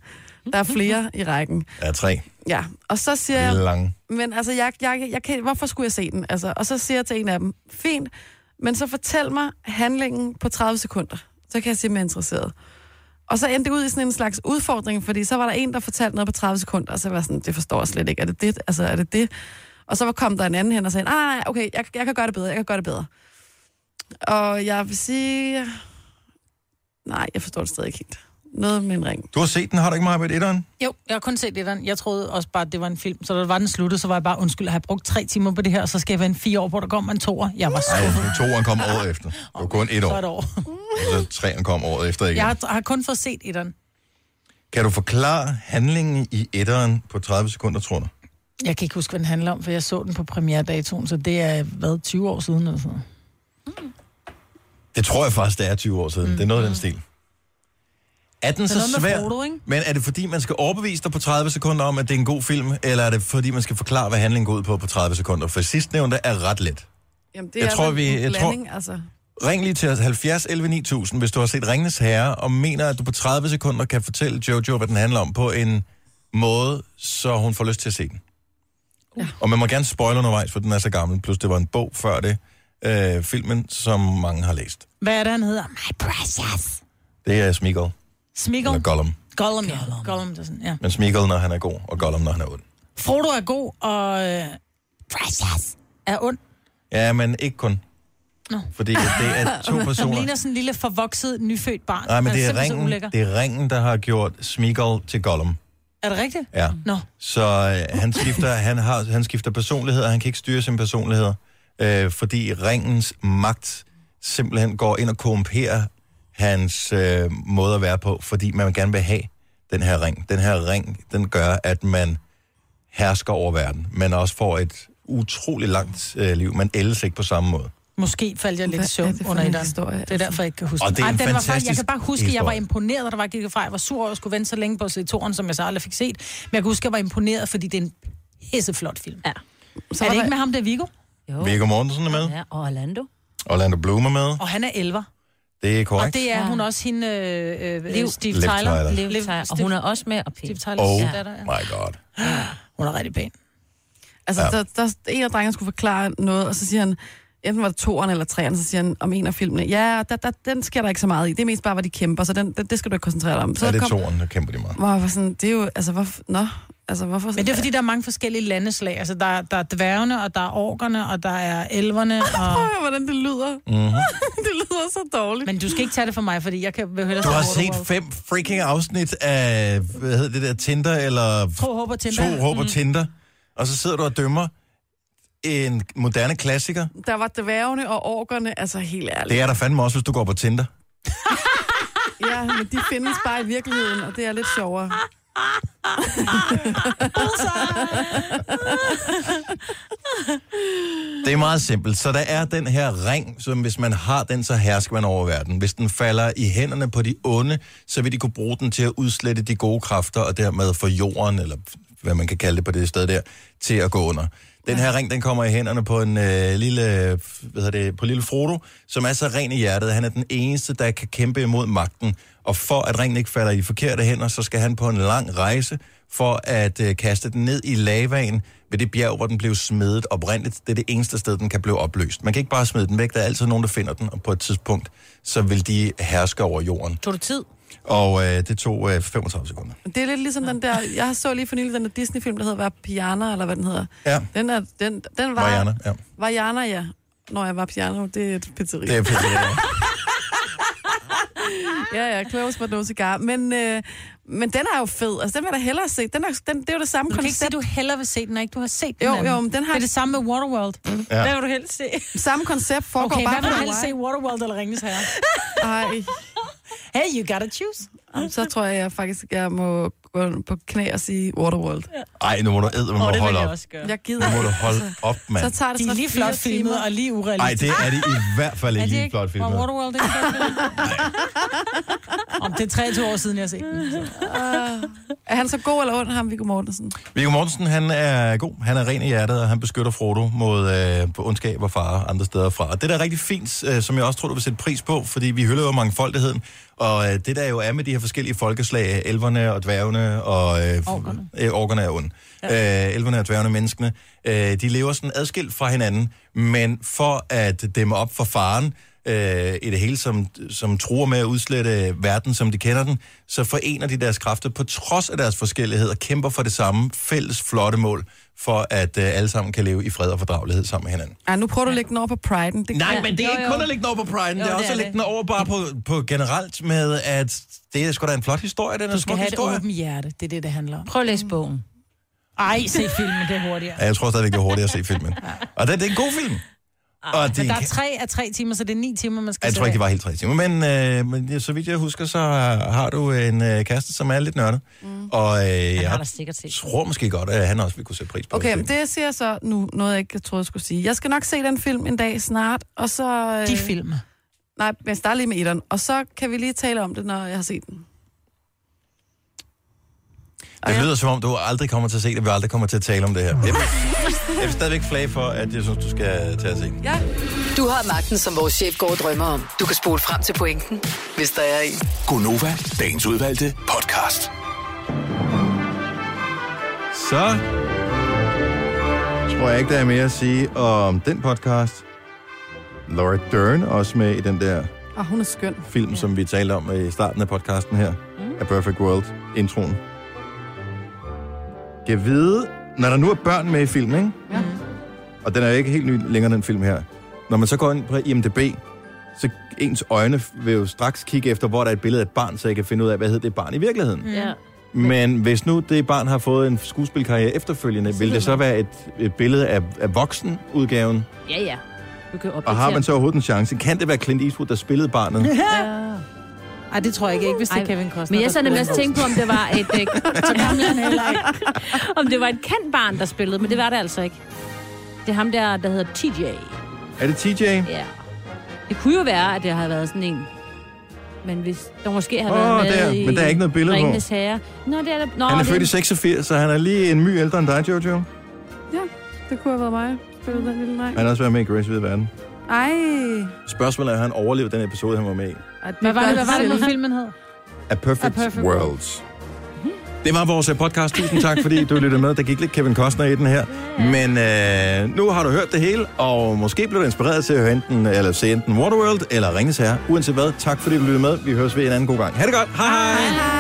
[SPEAKER 4] der er flere i rækken.
[SPEAKER 1] Der er tre.
[SPEAKER 4] Ja, og så siger
[SPEAKER 1] Det
[SPEAKER 4] jeg...
[SPEAKER 1] er lange.
[SPEAKER 4] Men altså, jeg, jeg, jeg kan, hvorfor skulle jeg se den? Altså, og så siger jeg til en af dem, fint, men så fortæl mig handlingen på 30 sekunder. Så kan jeg sige, om jeg er interesseret. Og så endte det ud i sådan en slags udfordring, fordi så var der en, der fortalte noget på 30 sekunder, og så var jeg sådan, det forstår jeg slet ikke. Er det det? Altså, er det det? Og så var- kom der en anden hen og sagde, nej, nej, nej, okay, jeg, jeg kan gøre det bedre, jeg kan gøre det bedre. Og jeg vil sige, nej, jeg forstår det stadig ikke helt. Noget med en ring.
[SPEAKER 1] Du har set den, har du ikke meget med etteren?
[SPEAKER 3] Jo, jeg har kun set det der. Jeg troede også bare, at det var en film. Så da var den sluttede, så var jeg bare, undskyld, at have brugt tre timer på det her, og så skal jeg vente fire år, hvor der kommer en toer. Jeg var skuffet.
[SPEAKER 1] Nej, toeren kom året efter. Det var kun et
[SPEAKER 3] Så
[SPEAKER 1] år.
[SPEAKER 3] et år.
[SPEAKER 1] Så treeren kom året efter igen.
[SPEAKER 3] Jeg har, har kun fået set etteren.
[SPEAKER 1] Kan du forklare handlingen i etteren på 30 sekunder, tror du?
[SPEAKER 3] Jeg kan ikke huske, hvad den handler om, for jeg så den på premieredatoen, så det er, hvad, 20 år siden eller sådan noget.
[SPEAKER 1] Det tror jeg faktisk, det er 20 år siden. Mm. Det er noget af den stil. Er den
[SPEAKER 3] Det er
[SPEAKER 1] så
[SPEAKER 3] noget med
[SPEAKER 1] svær?
[SPEAKER 3] Frodo, ikke?
[SPEAKER 1] Men er det fordi, man skal overbevise dig på 30 sekunder om, at det er en god film, eller er det fordi, man skal forklare, hvad handlingen går ud på på 30 sekunder? For sidstnævnte er ret let.
[SPEAKER 4] Jamen, det
[SPEAKER 1] Jeg
[SPEAKER 4] er
[SPEAKER 1] tror,
[SPEAKER 4] vel
[SPEAKER 1] vi-
[SPEAKER 4] en
[SPEAKER 1] jeg tror-
[SPEAKER 4] blanding, tror... altså.
[SPEAKER 1] Ring lige til os 70 11 9000, hvis du har set Ringenes Herre, og mener, at du på 30 sekunder kan fortælle Jojo, hvad den handler om, på en måde, så hun får lyst til at se den. Ja. Og man må gerne spoil undervejs, for den er så gammel. Plus, det var en bog før det, øh, filmen, som mange har læst.
[SPEAKER 3] Hvad er det, han hedder? My precious.
[SPEAKER 1] Det er Smeagol,
[SPEAKER 3] Smiggle.
[SPEAKER 1] eller Gollum.
[SPEAKER 3] Gollum, ja. Gollum, det er sådan, ja.
[SPEAKER 1] Men Smeagol, når han er god, og Gollum, når han er ond.
[SPEAKER 3] Frodo er god, og... Øh, precious er ond.
[SPEAKER 1] Ja, men ikke kun.
[SPEAKER 3] Nå.
[SPEAKER 1] Fordi det er to
[SPEAKER 3] Han
[SPEAKER 1] personer.
[SPEAKER 3] ligner sådan en lille forvokset, nyfødt barn.
[SPEAKER 1] Nej, men
[SPEAKER 3] Han
[SPEAKER 1] det er,
[SPEAKER 3] simpelthen så
[SPEAKER 1] ringen,
[SPEAKER 3] ulækker.
[SPEAKER 1] det er ringen, der har gjort Smeagol til Gollum.
[SPEAKER 3] Er det rigtigt?
[SPEAKER 1] Ja.
[SPEAKER 3] Nå.
[SPEAKER 1] Så øh, han, skifter, han, har, han skifter personlighed, og han kan ikke styre sine personligheder, øh, fordi ringens magt simpelthen går ind og korrumperer hans øh, måde at være på, fordi man gerne vil have den her ring. Den her ring, den gør, at man hersker over verden, men også får et utrolig langt øh, liv. Man ældes ikke på samme måde.
[SPEAKER 3] Måske faldt jeg lidt i søvn
[SPEAKER 4] for
[SPEAKER 3] under
[SPEAKER 4] en
[SPEAKER 3] etteren.
[SPEAKER 4] historie,
[SPEAKER 3] Det er derfor, jeg ikke kan huske
[SPEAKER 1] Og
[SPEAKER 3] den.
[SPEAKER 1] det er en
[SPEAKER 3] den var faktisk, Jeg
[SPEAKER 1] fantastisk
[SPEAKER 3] kan bare huske, at jeg var
[SPEAKER 1] historie.
[SPEAKER 3] imponeret, og der var gik fra. Jeg var sur over at skulle vente så længe på at se toren, som jeg så aldrig fik set. Men jeg kan huske, at jeg var imponeret, fordi det er en pisseflot film. Ja. Så er det ikke med ham, der Viggo?
[SPEAKER 1] Jo. Viggo Mortensen er med,
[SPEAKER 2] Ja, og Orlando.
[SPEAKER 1] Orlando Bloom er med,
[SPEAKER 3] Og han er elver.
[SPEAKER 1] det er
[SPEAKER 3] Og
[SPEAKER 1] korrekt.
[SPEAKER 3] det er
[SPEAKER 2] Ja.
[SPEAKER 3] hun også hende, øh, øh,
[SPEAKER 2] Liv.
[SPEAKER 3] Steve
[SPEAKER 1] Liv
[SPEAKER 3] Tyler.
[SPEAKER 1] Tyler.
[SPEAKER 2] Liv Tyler. Og hun er også med. Og
[SPEAKER 3] Steve
[SPEAKER 2] Pete.
[SPEAKER 3] Tyler.
[SPEAKER 1] Oh
[SPEAKER 3] Ja.
[SPEAKER 1] my god.
[SPEAKER 3] Hun er rigtig pæn.
[SPEAKER 4] Altså,
[SPEAKER 1] Ja.
[SPEAKER 4] ja. der, der, en af drengene skulle forklare noget, og så siger han, enten var det toeren eller treeren, så siger han om en af filmene, ja, der, der, den sker der ikke så meget i. Det er mest bare, hvor de kæmper, så den, den, det skal du ikke koncentrere dig om. Så
[SPEAKER 1] Så er det
[SPEAKER 4] kom-
[SPEAKER 1] toren, der kæmper de meget.
[SPEAKER 4] Hvor jeg var sådan, det er jo, altså, hvorfor, nå, altså, hvorfor...
[SPEAKER 3] Men det er fordi, der er mange forskellige landeslag. Altså, der, er- der er dværgene, og der er orkerne, og der er elverne.
[SPEAKER 4] Prøv
[SPEAKER 3] Og...
[SPEAKER 4] at høre, hvordan det lyder.
[SPEAKER 1] Mm-hmm.
[SPEAKER 4] det lyder så dårligt.
[SPEAKER 3] Men du skal ikke tage det for mig, fordi jeg kan vil hellere...
[SPEAKER 1] Du har
[SPEAKER 3] se
[SPEAKER 1] set
[SPEAKER 3] Waterworld.
[SPEAKER 1] fem freaking afsnit af, hvad hedder det der, Tinder eller
[SPEAKER 3] Tro, håber, Tinder. Mm.
[SPEAKER 1] To råber Tinder, og så sidder du og dømmer en moderne klassiker.
[SPEAKER 4] Der var dværgene og orkerne, altså helt ærligt.
[SPEAKER 1] Det er der fandme også, hvis du går på Tinder.
[SPEAKER 4] Ja, men de findes bare i virkeligheden, og det er lidt sjovere.
[SPEAKER 1] Det er meget simpelt. Så der er den her ring, som hvis man har den, så hersker man over verden. Hvis den falder i hænderne på de onde, så vil de kunne bruge den til at udslette de gode kræfter, og dermed få jorden, eller hvad man kan kalde det på det sted der, til at gå under. Den her ring, den kommer i hænderne på en øh, lille, hvad hedder det, på lille Frodo, som er så ren i hjertet. Han er den eneste, der kan kæmpe imod magten. Og for at ringen ikke falder i forkerte hænder, så skal han på en lang rejse for at øh, kaste den ned i lavaen ved det bjerg, hvor den blev smedet oprindeligt. Det er det eneste sted, den kan blive opløst. Man kan ikke bare smide den væk. Der er altid nogen, der finder den, og på et tidspunkt, så vil de herske over jorden.
[SPEAKER 2] Tog det tid?
[SPEAKER 1] Og øh, det tog øh, 35 sekunder.
[SPEAKER 4] Det er lidt ligesom den der, jeg så lige for nylig den der Disney-film, der hedder Var Piana, eller hvad den hedder.
[SPEAKER 1] Ja,
[SPEAKER 4] Den, er, den, den var...
[SPEAKER 1] Mariana. Ja.
[SPEAKER 4] Var Jana, ja. Når jeg var piano, det er et pizzeri.
[SPEAKER 1] Det er pisse, det er.
[SPEAKER 4] Ja, ja, close but no cigar. Men, øh, men den er jo fed. Altså, den vil jeg da hellere se. Den er, den, det er jo det samme
[SPEAKER 3] Du kan ikke sige,
[SPEAKER 4] koncept,
[SPEAKER 3] at du hellere vil se den, ikke? Du har set den
[SPEAKER 4] Jo,
[SPEAKER 3] anden.
[SPEAKER 4] jo, men den har-
[SPEAKER 3] Det er det samme med Waterworld.
[SPEAKER 1] Ja.
[SPEAKER 2] Hvad vil du helst se?
[SPEAKER 4] samme koncept foregår
[SPEAKER 3] Okay,
[SPEAKER 4] bare
[SPEAKER 3] hvad vil du
[SPEAKER 4] på
[SPEAKER 3] helst se?
[SPEAKER 4] Hawaii.
[SPEAKER 3] Waterworld eller Ringens Herre?
[SPEAKER 4] Ej,
[SPEAKER 3] Hey, you gotta choose.
[SPEAKER 4] Jamen, så tror jeg, jeg faktisk jeg må gå på knæ og sige Waterworld.
[SPEAKER 1] Ej, nu må du æde, må
[SPEAKER 4] Åh,
[SPEAKER 1] oh,
[SPEAKER 4] det vil
[SPEAKER 1] holde
[SPEAKER 4] jeg
[SPEAKER 1] op.
[SPEAKER 4] også gøre. Jeg gider
[SPEAKER 1] Nu må du
[SPEAKER 4] ikke,
[SPEAKER 1] holde op, mand.
[SPEAKER 4] Så tager det
[SPEAKER 3] De er
[SPEAKER 4] tre-
[SPEAKER 3] lige
[SPEAKER 4] fire
[SPEAKER 3] flot filmet
[SPEAKER 4] timer.
[SPEAKER 3] og lige
[SPEAKER 1] Nej,
[SPEAKER 3] urealistisk.
[SPEAKER 1] det Ah! er det i hvert fald ikke lige flot
[SPEAKER 3] Var
[SPEAKER 1] filmet.
[SPEAKER 3] Waterworld ikke Om det er 23 år siden, jeg har set den.
[SPEAKER 4] Uh, er han så god eller ond, ham Viggo Mortensen?
[SPEAKER 1] Viggo Mortensen, han er god. Han er ren i hjertet, og han beskytter Frodo mod øh, på ondskab og fare andre steder fra. Og det, der er rigtig fint, øh, som jeg også tror, du vil sætte pris på, fordi vi hylder jo mangfoldigheden, og øh, det, der jo er med de her forskellige folkeslag, øh, elverne og dværgene og... Øh, orkerne. Øh, orkerne er ond. Ja. Øh, elverne og dværgene, menneskene, øh, de lever sådan adskilt fra hinanden, men for at dæmme op for faren, øh, i det hele, som, som truer med at udslette verden, som de kender den, så forener de deres kræfter på trods af deres forskellighed og kæmper for det samme fælles flotte mål, for at øh, alle sammen kan leve i fred og fordragelighed sammen med hinanden.
[SPEAKER 4] Ej, nu prøver du at lægge den over på Pride'en. Det
[SPEAKER 1] Nej, men det er ikke kun at lægge den over på Pride'en, det er også at lægge den over bare på, på generelt med, at det er sgu da en flot historie, den er
[SPEAKER 3] Du
[SPEAKER 1] en
[SPEAKER 3] skal
[SPEAKER 1] smuk
[SPEAKER 3] have et
[SPEAKER 1] historie.
[SPEAKER 3] åbent hjerte. Det er det, det handler om.
[SPEAKER 2] Prøv at læse bogen.
[SPEAKER 3] Ej, se filmen, det er hurtigere.
[SPEAKER 1] Ja, jeg tror stadigvæk, det er hurtigt at se filmen. Og det, det er en god film. Og det
[SPEAKER 3] Men der er
[SPEAKER 1] kan-
[SPEAKER 3] tre af tre timer, så det er ni timer, man skal
[SPEAKER 1] Jeg tror ikke,
[SPEAKER 3] sætte
[SPEAKER 1] det var helt tre timer. Men, øh, men ja, så vidt jeg husker, så har du en øh, kæreste, som er lidt nørdet. Mm. Og øh, jeg
[SPEAKER 2] da sikkert set.
[SPEAKER 1] tror måske godt, at han også vil kunne sætte pris på
[SPEAKER 4] Okay,
[SPEAKER 1] det.
[SPEAKER 4] men det siger jeg så nu, noget jeg ikke troede, jeg skulle sige. Jeg skal nok se den film en dag snart, og så... Øh,
[SPEAKER 3] af. De film.
[SPEAKER 4] Nej, men jeg starter lige med etteren, og så kan vi lige tale om det, når jeg har set den.
[SPEAKER 1] Det lyder som om, du aldrig kommer til at se det, vi aldrig kommer til at tale om det her. Jeg vil, jeg vil stadigvæk flage for, at jeg synes, du skal tage og se den.
[SPEAKER 4] Ja.
[SPEAKER 5] Du har magten, som vores chef går og drømmer om. Du kan spole frem til pointen, hvis der er en.
[SPEAKER 6] Gonova, dagens udvalgte podcast.
[SPEAKER 1] Så tror jeg ikke, der er mere at sige om den podcast. Laura Dern også med i den der
[SPEAKER 4] Og hun er skøn.
[SPEAKER 1] film, ja. som vi talte om øh, i starten af podcasten her, mm. af Perfect World, introen. Jeg vide, når der nu er børn med i filmen, ikke? Ja. og den er jo ikke helt ny længere, den film her. Når man så går ind på IMDb, så ens øjne vil jo straks kigge efter, hvor der er et billede af et barn, så jeg kan finde ud af, hvad hedder det barn i virkeligheden. Mm.
[SPEAKER 2] Ja.
[SPEAKER 1] Men hvis nu det barn har fået en skuespilkarriere efterfølgende, vil det så være et, et billede af, af voksenudgaven?
[SPEAKER 2] Ja, ja. Du kan
[SPEAKER 1] Og har man så overhovedet en chance? Kan det være Clint Eastwood, der spillede barnet?
[SPEAKER 3] Ej, det tror jeg ikke, ikke hvis det er Kevin Costner.
[SPEAKER 2] Men jeg
[SPEAKER 3] der
[SPEAKER 2] sad nemlig
[SPEAKER 3] spiller
[SPEAKER 2] også tænkte på, om det var et... Øh, så gammel er han heller ikke. om det var et kendt barn, der spillede, men det var det altså ikke. Det er ham der, der hedder TJ.
[SPEAKER 1] Er det TJ?
[SPEAKER 2] Ja. Det kunne jo være, at det har været sådan en... Men hvis der måske har
[SPEAKER 1] Åh,
[SPEAKER 2] været med
[SPEAKER 1] der.
[SPEAKER 2] i
[SPEAKER 1] Men der er ikke noget billede på.
[SPEAKER 2] Ringenes Herre. Nå, det er der... Nå,
[SPEAKER 1] Han er
[SPEAKER 2] det
[SPEAKER 1] født i 86, så han er lige en my ældre end dig, Jojo.
[SPEAKER 4] Ja, det kunne have været mig. Spillede den lille dreng.
[SPEAKER 1] Han har også været med i Grace Hvide Verden.
[SPEAKER 4] Ej.
[SPEAKER 1] Spørgsmålet er, har han overlevet den episode, han var med i?
[SPEAKER 4] Ej, det
[SPEAKER 3] Hvad var
[SPEAKER 4] gør
[SPEAKER 3] det, hvad var det,
[SPEAKER 4] selv.
[SPEAKER 3] nu filmen hed?
[SPEAKER 1] A Perfect, A
[SPEAKER 3] Perfect
[SPEAKER 1] Perfect World. Det var vores øh, podcast. Tusind tak, fordi du lyttede med. Der gik lidt Kevin Costner i den her. Men øh, nu har du hørt det hele, og måske blev du inspireret til at høre enten, eller se enten Waterworld eller Ringes Herre. Uanset hvad, tak fordi du lyttede med. Vi høres ved en anden god gang. Ha' det godt. Hej hej. hej.